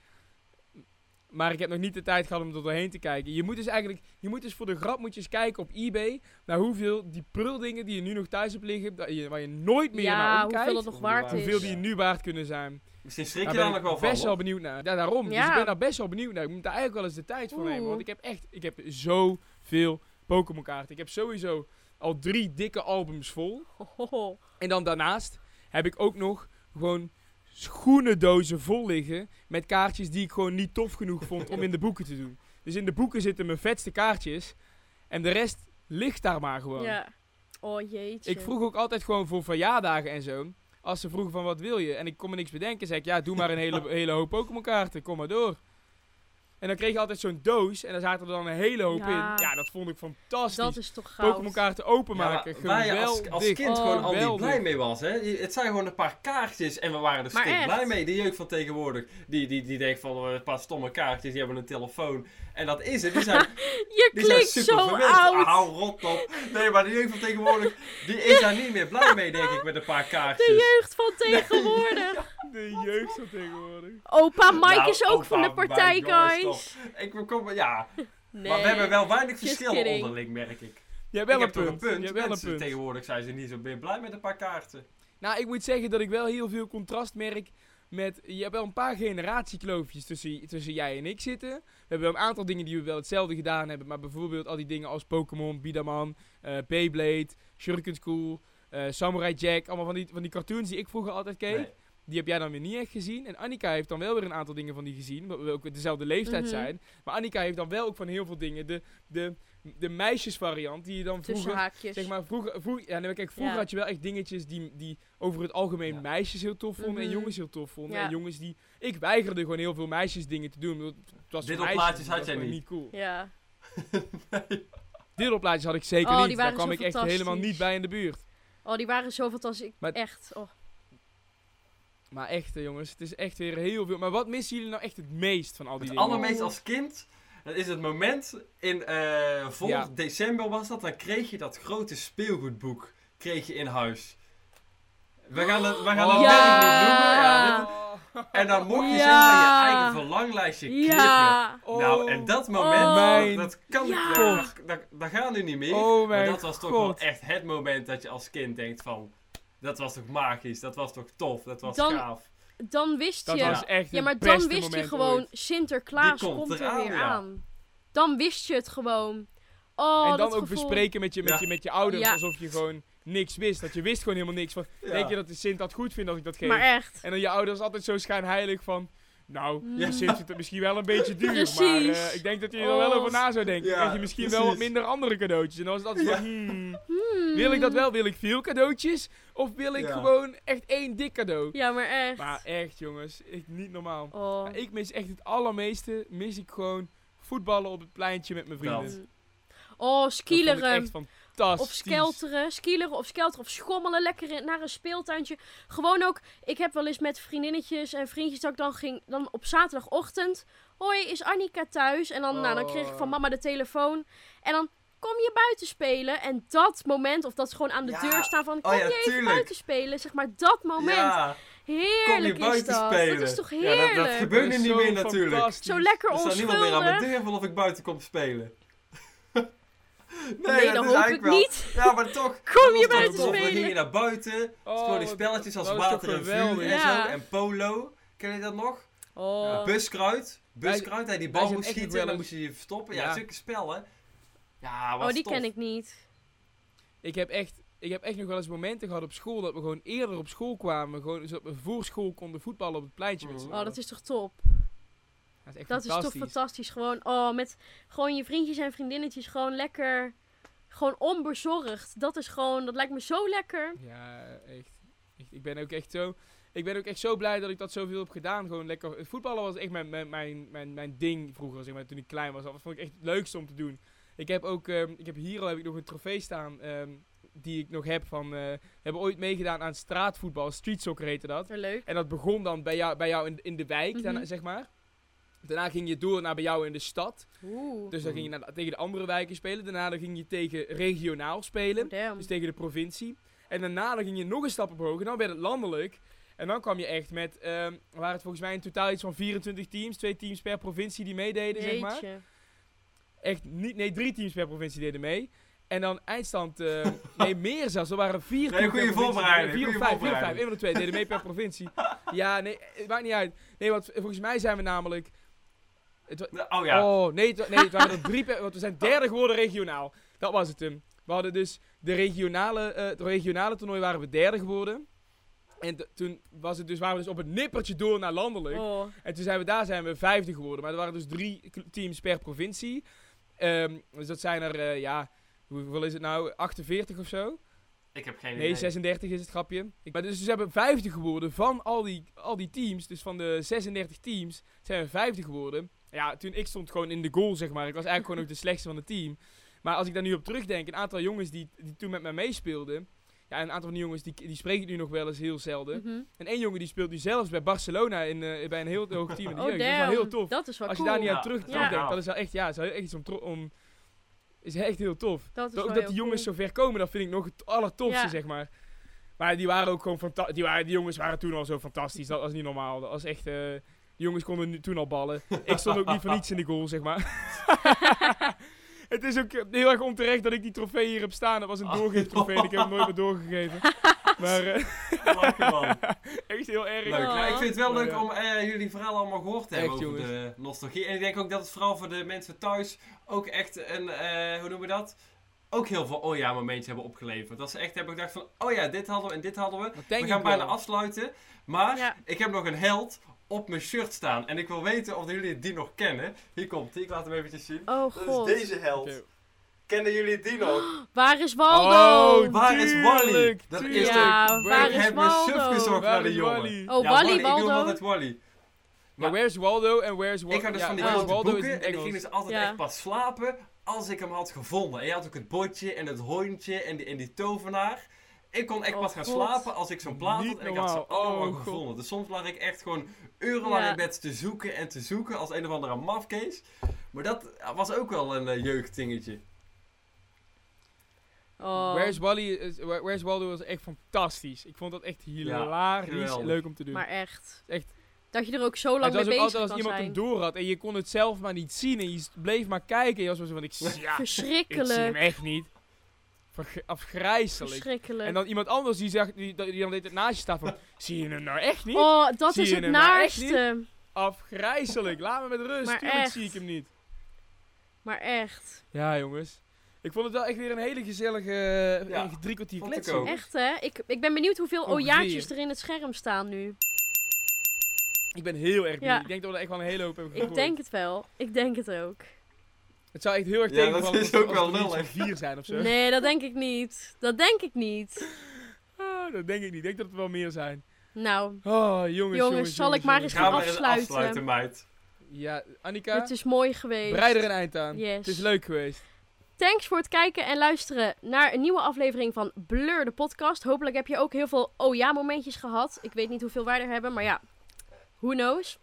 [SPEAKER 2] Maar ik heb nog niet de tijd gehad om er doorheen te kijken. Je moet dus eigenlijk, je moet dus voor de grap moet je eens kijken op eBay naar hoeveel die pruldingen die je nu nog thuis hebt liggen, dat je- waar je nooit meer naar
[SPEAKER 1] Ja,
[SPEAKER 2] omkijkt,
[SPEAKER 1] hoeveel dat nog waard is.
[SPEAKER 2] hoeveel die nu waard kunnen zijn.
[SPEAKER 4] Misschien schrik
[SPEAKER 2] Daar
[SPEAKER 4] je
[SPEAKER 2] Nou, ben
[SPEAKER 4] Dus daar
[SPEAKER 2] ik
[SPEAKER 4] nog wel van.
[SPEAKER 2] best wel
[SPEAKER 4] hoor.
[SPEAKER 2] benieuwd naar. Ja, daarom. Dus
[SPEAKER 1] Ja.
[SPEAKER 2] ik ben daar best wel benieuwd naar. Ik moet daar eigenlijk wel eens de tijd voor nemen.
[SPEAKER 1] Oeh.
[SPEAKER 2] Want ik heb echt, ik heb zoveel Pokémon kaarten. Ik heb sowieso al drie dikke albums vol.
[SPEAKER 1] Hohoho.
[SPEAKER 2] En dan daarnaast heb ik ook nog gewoon schoenendozen vol liggen met kaartjes die ik gewoon niet tof genoeg vond om in de boeken te doen. Dus in de boeken zitten mijn vetste kaartjes en de rest ligt daar maar gewoon.
[SPEAKER 1] Ja. Oh jeetje.
[SPEAKER 2] Ik vroeg ook altijd gewoon voor verjaardagen en zo. Als ze vroegen van wat wil je en ik kon me niks bedenken, zei ik ja, doe maar een hele, hele hoop Pokémon kaarten, kom maar door. En dan kreeg je altijd zo'n doos en daar zaten er dan een hele hoop
[SPEAKER 1] Ja.
[SPEAKER 2] in. Ja, dat vond ik
[SPEAKER 1] Dat
[SPEAKER 2] fantastisch.
[SPEAKER 1] is toch goud.
[SPEAKER 2] Pokémon kaarten openmaken,
[SPEAKER 4] Ja, waar je als,
[SPEAKER 2] geweldig.
[SPEAKER 4] als kind gewoon al niet
[SPEAKER 2] Geweldig.
[SPEAKER 4] blij mee was. Hè? Je- Het zijn gewoon een paar kaartjes en we waren er
[SPEAKER 1] Maar
[SPEAKER 4] stik blij
[SPEAKER 1] echt.
[SPEAKER 4] mee. Die jeugd van tegenwoordig, die, die, die denkt van eh, een paar stomme kaartjes, die hebben een telefoon. En dat is het. Die zijn,
[SPEAKER 1] Je
[SPEAKER 4] die zijn
[SPEAKER 1] klinkt
[SPEAKER 4] super
[SPEAKER 1] zo
[SPEAKER 4] verwend.
[SPEAKER 1] oud.
[SPEAKER 4] Hou rot op. Nee, maar die jeugd van tegenwoordig, die is daar niet meer blij mee, denk ik, met een paar
[SPEAKER 1] De
[SPEAKER 4] kaartjes.
[SPEAKER 1] jeugd van tegenwoordig.
[SPEAKER 2] De jeugd van tegenwoordig.
[SPEAKER 1] Opa Mike
[SPEAKER 4] Nou,
[SPEAKER 1] is ook
[SPEAKER 4] opa,
[SPEAKER 1] van de partij,
[SPEAKER 4] mijn jongens,
[SPEAKER 1] guys.
[SPEAKER 4] toch. Ik kom, ja.
[SPEAKER 1] Nee.
[SPEAKER 4] Maar we hebben wel weinig
[SPEAKER 1] Just
[SPEAKER 4] verschillen
[SPEAKER 1] kidding.
[SPEAKER 4] onderling, merk ik.
[SPEAKER 2] Je hebt wel
[SPEAKER 4] ik
[SPEAKER 2] een
[SPEAKER 4] heb toch
[SPEAKER 2] punt.
[SPEAKER 4] een punt.
[SPEAKER 2] Je hebt wel een
[SPEAKER 4] Mensen
[SPEAKER 2] punt.
[SPEAKER 4] Tegenwoordig zijn ze niet zo meer blij met een paar kaarten.
[SPEAKER 2] Nou, ik moet zeggen dat ik wel heel veel contrast merk met... Je hebt wel een paar generatiekloofjes tussen, tussen jij en ik zitten. We hebben wel een aantal dingen die we wel hetzelfde gedaan hebben. Maar bijvoorbeeld al die dingen als Pokémon, Bidaman, eh Beyblade, Shuriken School, eh, Samurai Jack. Allemaal van die, van die cartoons die ik vroeger altijd keek.
[SPEAKER 4] Nee.
[SPEAKER 2] Die heb jij dan weer niet echt gezien. En Annika heeft dan wel weer een aantal dingen van die gezien. Omdat we ook dezelfde leeftijd
[SPEAKER 1] Mhm.
[SPEAKER 2] zijn. Maar Annika heeft dan wel ook van heel veel dingen de, de, de meisjesvariant. Die je dan
[SPEAKER 1] Tussen
[SPEAKER 2] vroeger
[SPEAKER 1] haakjes.
[SPEAKER 2] Zeg maar, vroeger, vroeger, ja, nee, kijk, vroeger
[SPEAKER 1] Ja.
[SPEAKER 2] had je wel echt dingetjes die, die over het algemeen
[SPEAKER 4] Ja.
[SPEAKER 2] meisjes heel tof vonden en
[SPEAKER 1] Mhm.
[SPEAKER 2] jongens heel tof vonden.
[SPEAKER 1] Ja.
[SPEAKER 2] En jongens die... Ik weigerde gewoon heel veel meisjes dingen te doen. omdat Het was voor meisjes, dus
[SPEAKER 4] Diddelplaatjes
[SPEAKER 2] dat
[SPEAKER 4] had jij
[SPEAKER 2] was
[SPEAKER 4] niet.
[SPEAKER 2] niet cool.
[SPEAKER 1] Ja.
[SPEAKER 2] Diddelplaatjes had ik zeker
[SPEAKER 1] Oh, die
[SPEAKER 2] niet. Daar
[SPEAKER 1] waren
[SPEAKER 2] kwam
[SPEAKER 1] zo
[SPEAKER 2] ik echt helemaal
[SPEAKER 1] fantastisch.
[SPEAKER 2] niet bij in de buurt.
[SPEAKER 1] Oh, die waren zo fantastisch. Ik-
[SPEAKER 2] Maar-
[SPEAKER 1] Echt. Oh.
[SPEAKER 2] Maar echt, eh, jongens, het is echt weer heel veel. Maar wat missen jullie nou echt het meest van al die
[SPEAKER 4] Het
[SPEAKER 2] dingen?
[SPEAKER 4] allermeest als kind, dat is het moment in eh vorig
[SPEAKER 2] Ja.
[SPEAKER 4] december was dat, dan kreeg je dat grote speelgoedboek kreeg je in huis. We gaan het, we gaan het
[SPEAKER 2] Oh.
[SPEAKER 4] werk
[SPEAKER 1] Ja.
[SPEAKER 4] niet noemen. Ja, dit- en dan mocht je
[SPEAKER 1] Ja.
[SPEAKER 4] zelf je eigen verlanglijstje knippen.
[SPEAKER 1] Ja.
[SPEAKER 2] Oh,
[SPEAKER 4] Nou, en dat moment,
[SPEAKER 1] Oh.
[SPEAKER 2] Mijn
[SPEAKER 4] dat kan
[SPEAKER 1] Ja.
[SPEAKER 4] dat, dat, dat gaat nu niet meer.
[SPEAKER 2] Oh
[SPEAKER 4] maar
[SPEAKER 2] mijn
[SPEAKER 4] dat was toch
[SPEAKER 2] God.
[SPEAKER 4] wel echt het moment dat je als kind denkt van, dat was toch magisch, dat was toch tof, dat was
[SPEAKER 1] Dan-
[SPEAKER 4] gaaf.
[SPEAKER 1] Dan wist
[SPEAKER 2] Dat
[SPEAKER 1] je.
[SPEAKER 2] was echt
[SPEAKER 1] Ja,
[SPEAKER 2] het
[SPEAKER 1] maar dan
[SPEAKER 2] beste
[SPEAKER 1] wist je
[SPEAKER 2] moment
[SPEAKER 1] gewoon,
[SPEAKER 2] ooit.
[SPEAKER 1] Sinterklaas
[SPEAKER 4] Die komt
[SPEAKER 1] komt,
[SPEAKER 4] eraan,
[SPEAKER 1] er weer
[SPEAKER 4] ja.
[SPEAKER 1] aan. Dan wist je het gewoon. Oh,
[SPEAKER 2] en dan
[SPEAKER 1] dat
[SPEAKER 2] ook
[SPEAKER 1] gevoel.
[SPEAKER 2] bespreken met je, met,
[SPEAKER 4] Ja.
[SPEAKER 2] je, met je ouders
[SPEAKER 1] Ja.
[SPEAKER 2] alsof je gewoon niks wist. Dat je wist gewoon helemaal niks. Van,
[SPEAKER 4] Ja.
[SPEAKER 2] Denk je dat de Sint dat goed vindt dat ik dat geef?
[SPEAKER 1] Maar echt.
[SPEAKER 2] En dan je ouders altijd zo schijnheilig van... Nou,
[SPEAKER 1] Ja.
[SPEAKER 2] je Sint vindt het misschien wel een beetje duur, maar
[SPEAKER 1] Precies.
[SPEAKER 2] eh, ik denk dat je er wel
[SPEAKER 1] Oh.
[SPEAKER 2] over na zou denken.
[SPEAKER 4] Ja,
[SPEAKER 2] Dan krijg je misschien wel wat
[SPEAKER 4] precies.
[SPEAKER 2] minder andere cadeautjes. En dan is dat altijd van, hmm,
[SPEAKER 1] Hmm.
[SPEAKER 2] wil ik dat wel? Wil ik veel cadeautjes? Of wil ik
[SPEAKER 4] Ja.
[SPEAKER 2] gewoon echt één dik cadeau?
[SPEAKER 1] Ja, maar echt.
[SPEAKER 2] Maar echt jongens, ik, niet normaal.
[SPEAKER 1] oh.
[SPEAKER 2] Ik mis echt het allermeeste, mis ik gewoon voetballen op het pleintje met mijn vrienden.
[SPEAKER 4] Dat.
[SPEAKER 2] Dat
[SPEAKER 1] Oh,
[SPEAKER 2] vond ik
[SPEAKER 1] skileren.
[SPEAKER 2] echt fantastisch.
[SPEAKER 1] Of skelteren, skileren of skelteren of schommelen lekker in- naar een speeltuintje. Gewoon ook, ik heb wel eens met vriendinnetjes en vriendjes dat ik dan ging, dan op zaterdagochtend. Hoi, is Annika thuis? En dan, nou, dan kreeg ik van
[SPEAKER 2] Oh.
[SPEAKER 1] mama de telefoon. En dan kom je buiten spelen. En dat moment, of dat ze gewoon aan de
[SPEAKER 4] Ja.
[SPEAKER 1] deur staan van,
[SPEAKER 4] Oh
[SPEAKER 1] kom
[SPEAKER 4] ja,
[SPEAKER 1] je even
[SPEAKER 4] tuurlijk.
[SPEAKER 1] buiten spelen? Zeg maar, dat moment.
[SPEAKER 4] Ja. Kom je
[SPEAKER 1] Heerlijk is
[SPEAKER 4] buiten
[SPEAKER 1] dat.
[SPEAKER 4] spelen.
[SPEAKER 1] Dat is toch
[SPEAKER 4] Ja, dat- dat
[SPEAKER 1] heerlijk?
[SPEAKER 4] gebeurt-
[SPEAKER 2] Dat is
[SPEAKER 4] Beunen niet
[SPEAKER 2] zo
[SPEAKER 4] meer natuurlijk.
[SPEAKER 2] fantastisch.
[SPEAKER 1] Zo lekker
[SPEAKER 4] Er staat niemand meer aan
[SPEAKER 1] onschuldig.
[SPEAKER 4] mijn deur van of ik buiten kom spelen. nee,
[SPEAKER 1] Nee, dat hoop ik niet.
[SPEAKER 4] Ja, maar toch.
[SPEAKER 1] Kom je
[SPEAKER 4] dat was
[SPEAKER 1] buiten
[SPEAKER 4] toch tof. Dan ging
[SPEAKER 1] spelen?
[SPEAKER 4] je naar buiten.
[SPEAKER 2] Oh,
[SPEAKER 4] gewoon die
[SPEAKER 2] wat-
[SPEAKER 4] spelletjes als
[SPEAKER 2] dat is toch
[SPEAKER 4] water en
[SPEAKER 2] geweldig.
[SPEAKER 4] vuur en
[SPEAKER 1] Ja.
[SPEAKER 4] zo. En polo. Ken je dat nog?
[SPEAKER 1] Oh.
[SPEAKER 4] Buskruid. Buskruid. Hij die bal
[SPEAKER 2] zijn
[SPEAKER 4] moest
[SPEAKER 2] echt
[SPEAKER 4] schieten
[SPEAKER 2] wel
[SPEAKER 4] en dan
[SPEAKER 2] eens-
[SPEAKER 4] moest je je verstoppen. Ja,
[SPEAKER 2] Ja.
[SPEAKER 4] zulke spellen. Ja, was
[SPEAKER 1] oh, die
[SPEAKER 4] tof.
[SPEAKER 1] ken ik niet.
[SPEAKER 2] Ik heb, echt, ik heb echt nog wel eens momenten gehad op school dat we gewoon eerder op school kwamen. Gewoon zodat we voor school konden voetballen op het pleintje
[SPEAKER 4] Mhm.
[SPEAKER 2] met z'n
[SPEAKER 1] Oh, dat is toch top.
[SPEAKER 2] dat is echt
[SPEAKER 1] Dat is toch
[SPEAKER 2] fantastisch.
[SPEAKER 1] fantastisch. Gewoon, oh, met gewoon je vriendjes en vriendinnetjes gewoon lekker. Gewoon onbezorgd. Dat is gewoon, dat lijkt me zo lekker.
[SPEAKER 2] Ja, echt. Echt, ik ben ook echt zo. Ik ben ook echt zo blij dat ik dat zoveel heb gedaan. Gewoon lekker. Voetballen was echt mijn, mijn, mijn, mijn, mijn ding vroeger, zeg maar, toen ik klein was. Dat vond ik echt het leukste om te doen. Ik heb ook, ehm, ik heb hier al heb ik nog een trofee staan. ehm, die ik nog heb van. eh, we hebben ooit meegedaan aan straatvoetbal. Street soccer heette dat.
[SPEAKER 1] Leuk.
[SPEAKER 2] En dat begon dan bij jou, bij jou in, in de wijk,
[SPEAKER 1] Mhm.
[SPEAKER 2] daarna, zeg maar. Daarna ging je door naar bij jou in de stad.
[SPEAKER 1] Oeh.
[SPEAKER 2] Dus dan
[SPEAKER 4] Mhm.
[SPEAKER 2] ging je naar de- tegen de andere wijken spelen. Daarna dan ging je tegen regionaal spelen.
[SPEAKER 1] Oh, damn.
[SPEAKER 2] Dus tegen de provincie. En daarna dan ging je nog een stap omhoog. En dan werd het landelijk. En dan kwam je echt met, ehm waren het volgens mij in totaal iets van 24 teams. Twee teams per provincie die meededen, zeg maar.
[SPEAKER 1] Jeetje.
[SPEAKER 2] Echt niet, nee, drie teams per provincie deden mee. En dan eindstand, eh, nee, meer zelfs. Er waren vier
[SPEAKER 4] Nee,
[SPEAKER 2] teams
[SPEAKER 4] goede
[SPEAKER 2] per provincie.
[SPEAKER 4] voorbereiding,
[SPEAKER 2] Vier of
[SPEAKER 4] goede
[SPEAKER 2] vijf, vier of vijf.
[SPEAKER 4] voorbereiding.
[SPEAKER 2] Een van de twee deden mee per provincie. Ja, nee, het maakt niet uit. Nee, want volgens mij zijn we namelijk... Het, wa-
[SPEAKER 4] Oh ja.
[SPEAKER 2] Oh, nee, het, wa- nee, het waren er drie, per- want we zijn derde geworden regionaal. Dat was het hem. We hadden dus de regionale, eh het regionale toernooi waren we derde geworden. En t- toen was het dus, waren we dus op het nippertje door naar landelijk.
[SPEAKER 1] Oh.
[SPEAKER 2] En toen zijn we daar zijn we vijfde geworden. Maar er waren dus drie k- teams per provincie. Ehm, dus dat zijn er, eh, ja, hoe- hoeveel is het nou? 48 of zo?
[SPEAKER 4] Ik heb geen
[SPEAKER 2] Nee,
[SPEAKER 4] idee.
[SPEAKER 2] 36 is het grapje. Ik, maar dus ze hebben vijfde geworden van al die, al die teams. Dus van de 36 teams zijn we vijfde geworden. Ja, toen ik stond gewoon in de goal, zeg maar. Ik was eigenlijk gewoon ook de slechtste van het team. Maar als ik daar nu op terugdenk, een aantal jongens die, die toen met mij meespeelden. Ja, een aantal van die jongens die, die spreek ik nu nog wel eens heel zelden.
[SPEAKER 1] Mhm.
[SPEAKER 2] En één jongen die speelt nu zelfs bij Barcelona in, eh, bij een heel hoog team in de
[SPEAKER 1] Oh,
[SPEAKER 2] jeugd. Dat is wel
[SPEAKER 1] damn.
[SPEAKER 2] heel tof.
[SPEAKER 1] Dat is wel
[SPEAKER 2] Als je
[SPEAKER 1] cool.
[SPEAKER 2] daar niet aan
[SPEAKER 4] Ja,
[SPEAKER 2] terug,
[SPEAKER 4] dat is
[SPEAKER 2] terugdenkt,
[SPEAKER 4] gaaf.
[SPEAKER 2] dat is wel echt, ja, is wel echt iets om, tro- om... Is echt heel tof.
[SPEAKER 1] Dat is
[SPEAKER 2] ook
[SPEAKER 1] wel
[SPEAKER 2] dat
[SPEAKER 1] heel
[SPEAKER 2] die jongens
[SPEAKER 1] cool.
[SPEAKER 2] zo ver komen, dat vind ik nog het allertofste,
[SPEAKER 1] Ja.
[SPEAKER 2] zeg maar. Maar die waren ook gewoon fantastisch. Die, waren- die jongens waren toen al zo fantastisch. Dat was niet normaal. Dat was echt... eh, die jongens konden nu, toen al ballen. ik stond ook niet voor niets in de goal, zeg maar. het is ook eh, heel erg onterecht dat ik die trofee hier heb staan. Dat was een
[SPEAKER 4] Ah.
[SPEAKER 2] doorgeeftrofee en ik heb hem nooit meer doorgegeven. Maar eh,
[SPEAKER 4] Lachen, man.
[SPEAKER 2] echt heel erg.
[SPEAKER 4] Leuk. Nou, ik vind het wel
[SPEAKER 2] Maar,
[SPEAKER 4] leuk
[SPEAKER 2] eh,
[SPEAKER 4] om eh, jullie verhaal allemaal gehoord te hebben
[SPEAKER 2] Echt,
[SPEAKER 4] over de nostalgie. En ik denk ook dat het vooral voor de mensen thuis ook echt een, eh, hoe noemen we dat? Ook heel veel oh ja momentjes hebben opgeleverd. Dat ze echt hebben gedacht van, oh ja, dit hadden we en dit hadden we.
[SPEAKER 2] Dat denk
[SPEAKER 4] we
[SPEAKER 2] ik
[SPEAKER 4] gaan bijna
[SPEAKER 2] wel.
[SPEAKER 4] afsluiten. Maar
[SPEAKER 1] Ja.
[SPEAKER 4] ik heb nog een held op mijn shirt staan. En ik wil weten of jullie die nog kennen. Hier komt die, ik laat hem eventjes zien.
[SPEAKER 1] Oh
[SPEAKER 4] Dat is
[SPEAKER 1] god.
[SPEAKER 4] deze held.
[SPEAKER 2] Oké.
[SPEAKER 4] Kennen jullie die nog?
[SPEAKER 1] Waar is Waldo?
[SPEAKER 2] Oh,
[SPEAKER 4] Waar is Wally?
[SPEAKER 2] Tuurlijk,
[SPEAKER 4] Dat is
[SPEAKER 2] tuurlijk.
[SPEAKER 4] toch...
[SPEAKER 1] ja,
[SPEAKER 2] de-
[SPEAKER 1] waar
[SPEAKER 4] ik
[SPEAKER 1] is
[SPEAKER 4] heb me suf
[SPEAKER 1] Waldo?
[SPEAKER 4] gezocht naar de jongen.
[SPEAKER 1] Oh,
[SPEAKER 4] Ja,
[SPEAKER 1] Wally,
[SPEAKER 4] Ik noem hem
[SPEAKER 1] Waldo.
[SPEAKER 4] altijd Wally.
[SPEAKER 2] Maar where's Waldo en where's Waldo?
[SPEAKER 4] Ik had dus
[SPEAKER 2] ja,
[SPEAKER 4] van die
[SPEAKER 1] maar
[SPEAKER 2] where's
[SPEAKER 4] grote
[SPEAKER 2] Waldo is in
[SPEAKER 4] boeken
[SPEAKER 2] het
[SPEAKER 4] en ik
[SPEAKER 2] Engels.
[SPEAKER 4] ging dus altijd
[SPEAKER 1] Ja.
[SPEAKER 4] echt pas slapen als ik hem had gevonden. En je had ook het bordje en het hondje en die, en die tovenaar. Ik kon echt
[SPEAKER 1] Oh,
[SPEAKER 4] pas gaan
[SPEAKER 1] God.
[SPEAKER 4] slapen als ik zo'n plaat
[SPEAKER 2] Niet
[SPEAKER 4] had en ik had ze
[SPEAKER 2] normaal.
[SPEAKER 4] allemaal
[SPEAKER 2] Oh, God.
[SPEAKER 4] gevonden. Dus soms lag ik echt gewoon urenlang
[SPEAKER 1] Ja.
[SPEAKER 4] in bed te zoeken en te zoeken als een of andere mafkees. Maar dat was ook wel een eh, jeugddingetje.
[SPEAKER 1] Oh.
[SPEAKER 2] Where's, Wally is, Where- where's Waldo was echt fantastisch. Ik vond dat echt hilarisch
[SPEAKER 4] geweldig.
[SPEAKER 2] leuk om te doen.
[SPEAKER 1] Maar echt.
[SPEAKER 2] Echt.
[SPEAKER 1] Dat je er ook zo
[SPEAKER 2] Maar
[SPEAKER 1] lang
[SPEAKER 2] het was
[SPEAKER 1] mee
[SPEAKER 2] ook
[SPEAKER 1] bezig
[SPEAKER 2] altijd als
[SPEAKER 1] kan
[SPEAKER 2] iemand hem
[SPEAKER 1] zijn.
[SPEAKER 2] door had en je kon het zelf maar niet zien en je s- bleef maar kijken. En je was wel zo van, Ah, ik, zie- ja, ik zie hem
[SPEAKER 1] Verschrikkelijk.
[SPEAKER 2] echt niet. Verg- afgrijzelijk.
[SPEAKER 1] Verschrikkelijk.
[SPEAKER 2] En dan iemand anders die, zag, die, die dan deed het naast je staan van, zie je hem nou echt niet?
[SPEAKER 1] Oh, dat
[SPEAKER 2] Zie
[SPEAKER 1] is
[SPEAKER 2] je
[SPEAKER 1] het
[SPEAKER 2] hem nou echt
[SPEAKER 1] naarste.
[SPEAKER 2] Afgrijzelijk, laat me met rust,
[SPEAKER 1] Maar
[SPEAKER 2] tuurlijk
[SPEAKER 1] echt.
[SPEAKER 2] zie ik hem niet.
[SPEAKER 1] Maar echt.
[SPEAKER 2] Ja, jongens. Ik vond het wel echt weer een hele gezellige
[SPEAKER 4] Ja,
[SPEAKER 2] eh, drie kwartier
[SPEAKER 4] vond ik
[SPEAKER 2] kletsen.
[SPEAKER 4] ook.
[SPEAKER 1] Echt hè? Ik, ik ben benieuwd hoeveel
[SPEAKER 2] Ongeveer.
[SPEAKER 1] ojaartjes er in het scherm staan nu.
[SPEAKER 2] Ik ben heel erg benieuwd.
[SPEAKER 1] Ja.
[SPEAKER 2] Ik denk dat we er echt wel een hele hoop hebben
[SPEAKER 1] Ik
[SPEAKER 2] gegooid.
[SPEAKER 1] denk het wel. Ik denk het ook.
[SPEAKER 2] Het zou echt heel erg
[SPEAKER 4] Ja,
[SPEAKER 2] tegenvallen
[SPEAKER 4] dat is
[SPEAKER 2] als-
[SPEAKER 4] ook
[SPEAKER 2] als
[SPEAKER 4] wel
[SPEAKER 2] er niet
[SPEAKER 4] lullig.
[SPEAKER 2] zo'n vier zijn of zo.
[SPEAKER 1] Nee, dat denk ik niet. Dat denk ik niet.
[SPEAKER 2] Ah, dat denk ik niet. Ik denk dat het wel meer zijn.
[SPEAKER 1] Nou,
[SPEAKER 2] Oh, jongens, jongens.
[SPEAKER 1] Jongens, zal ik maar
[SPEAKER 2] jongens,
[SPEAKER 1] eens gaan
[SPEAKER 4] Ga
[SPEAKER 2] jongens.
[SPEAKER 4] maar eens
[SPEAKER 1] afsluiten.
[SPEAKER 4] afsluiten, meid.
[SPEAKER 2] Ja, Annika,
[SPEAKER 1] het is mooi geweest.
[SPEAKER 2] breid er een eind aan.
[SPEAKER 1] Yes.
[SPEAKER 2] Het is leuk geweest.
[SPEAKER 1] Thanks voor het kijken en luisteren naar een nieuwe aflevering van Blur, de podcast. Hopelijk heb je ook heel veel oh ja momentjes gehad. Ik weet niet hoeveel wij er hebben, maar ja, who knows.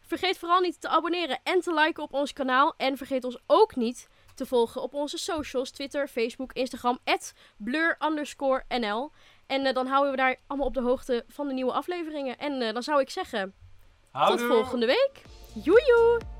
[SPEAKER 1] Vergeet vooral niet te abonneren en te liken op ons kanaal. En vergeet ons ook niet te volgen op onze socials, Twitter, Facebook, Instagram, blur underscore NL. En eh, dan houden we daar allemaal op de hoogte van de nieuwe afleveringen. En eh, dan zou ik zeggen, tot
[SPEAKER 4] Houdoe.
[SPEAKER 1] volgende week. Joejoe!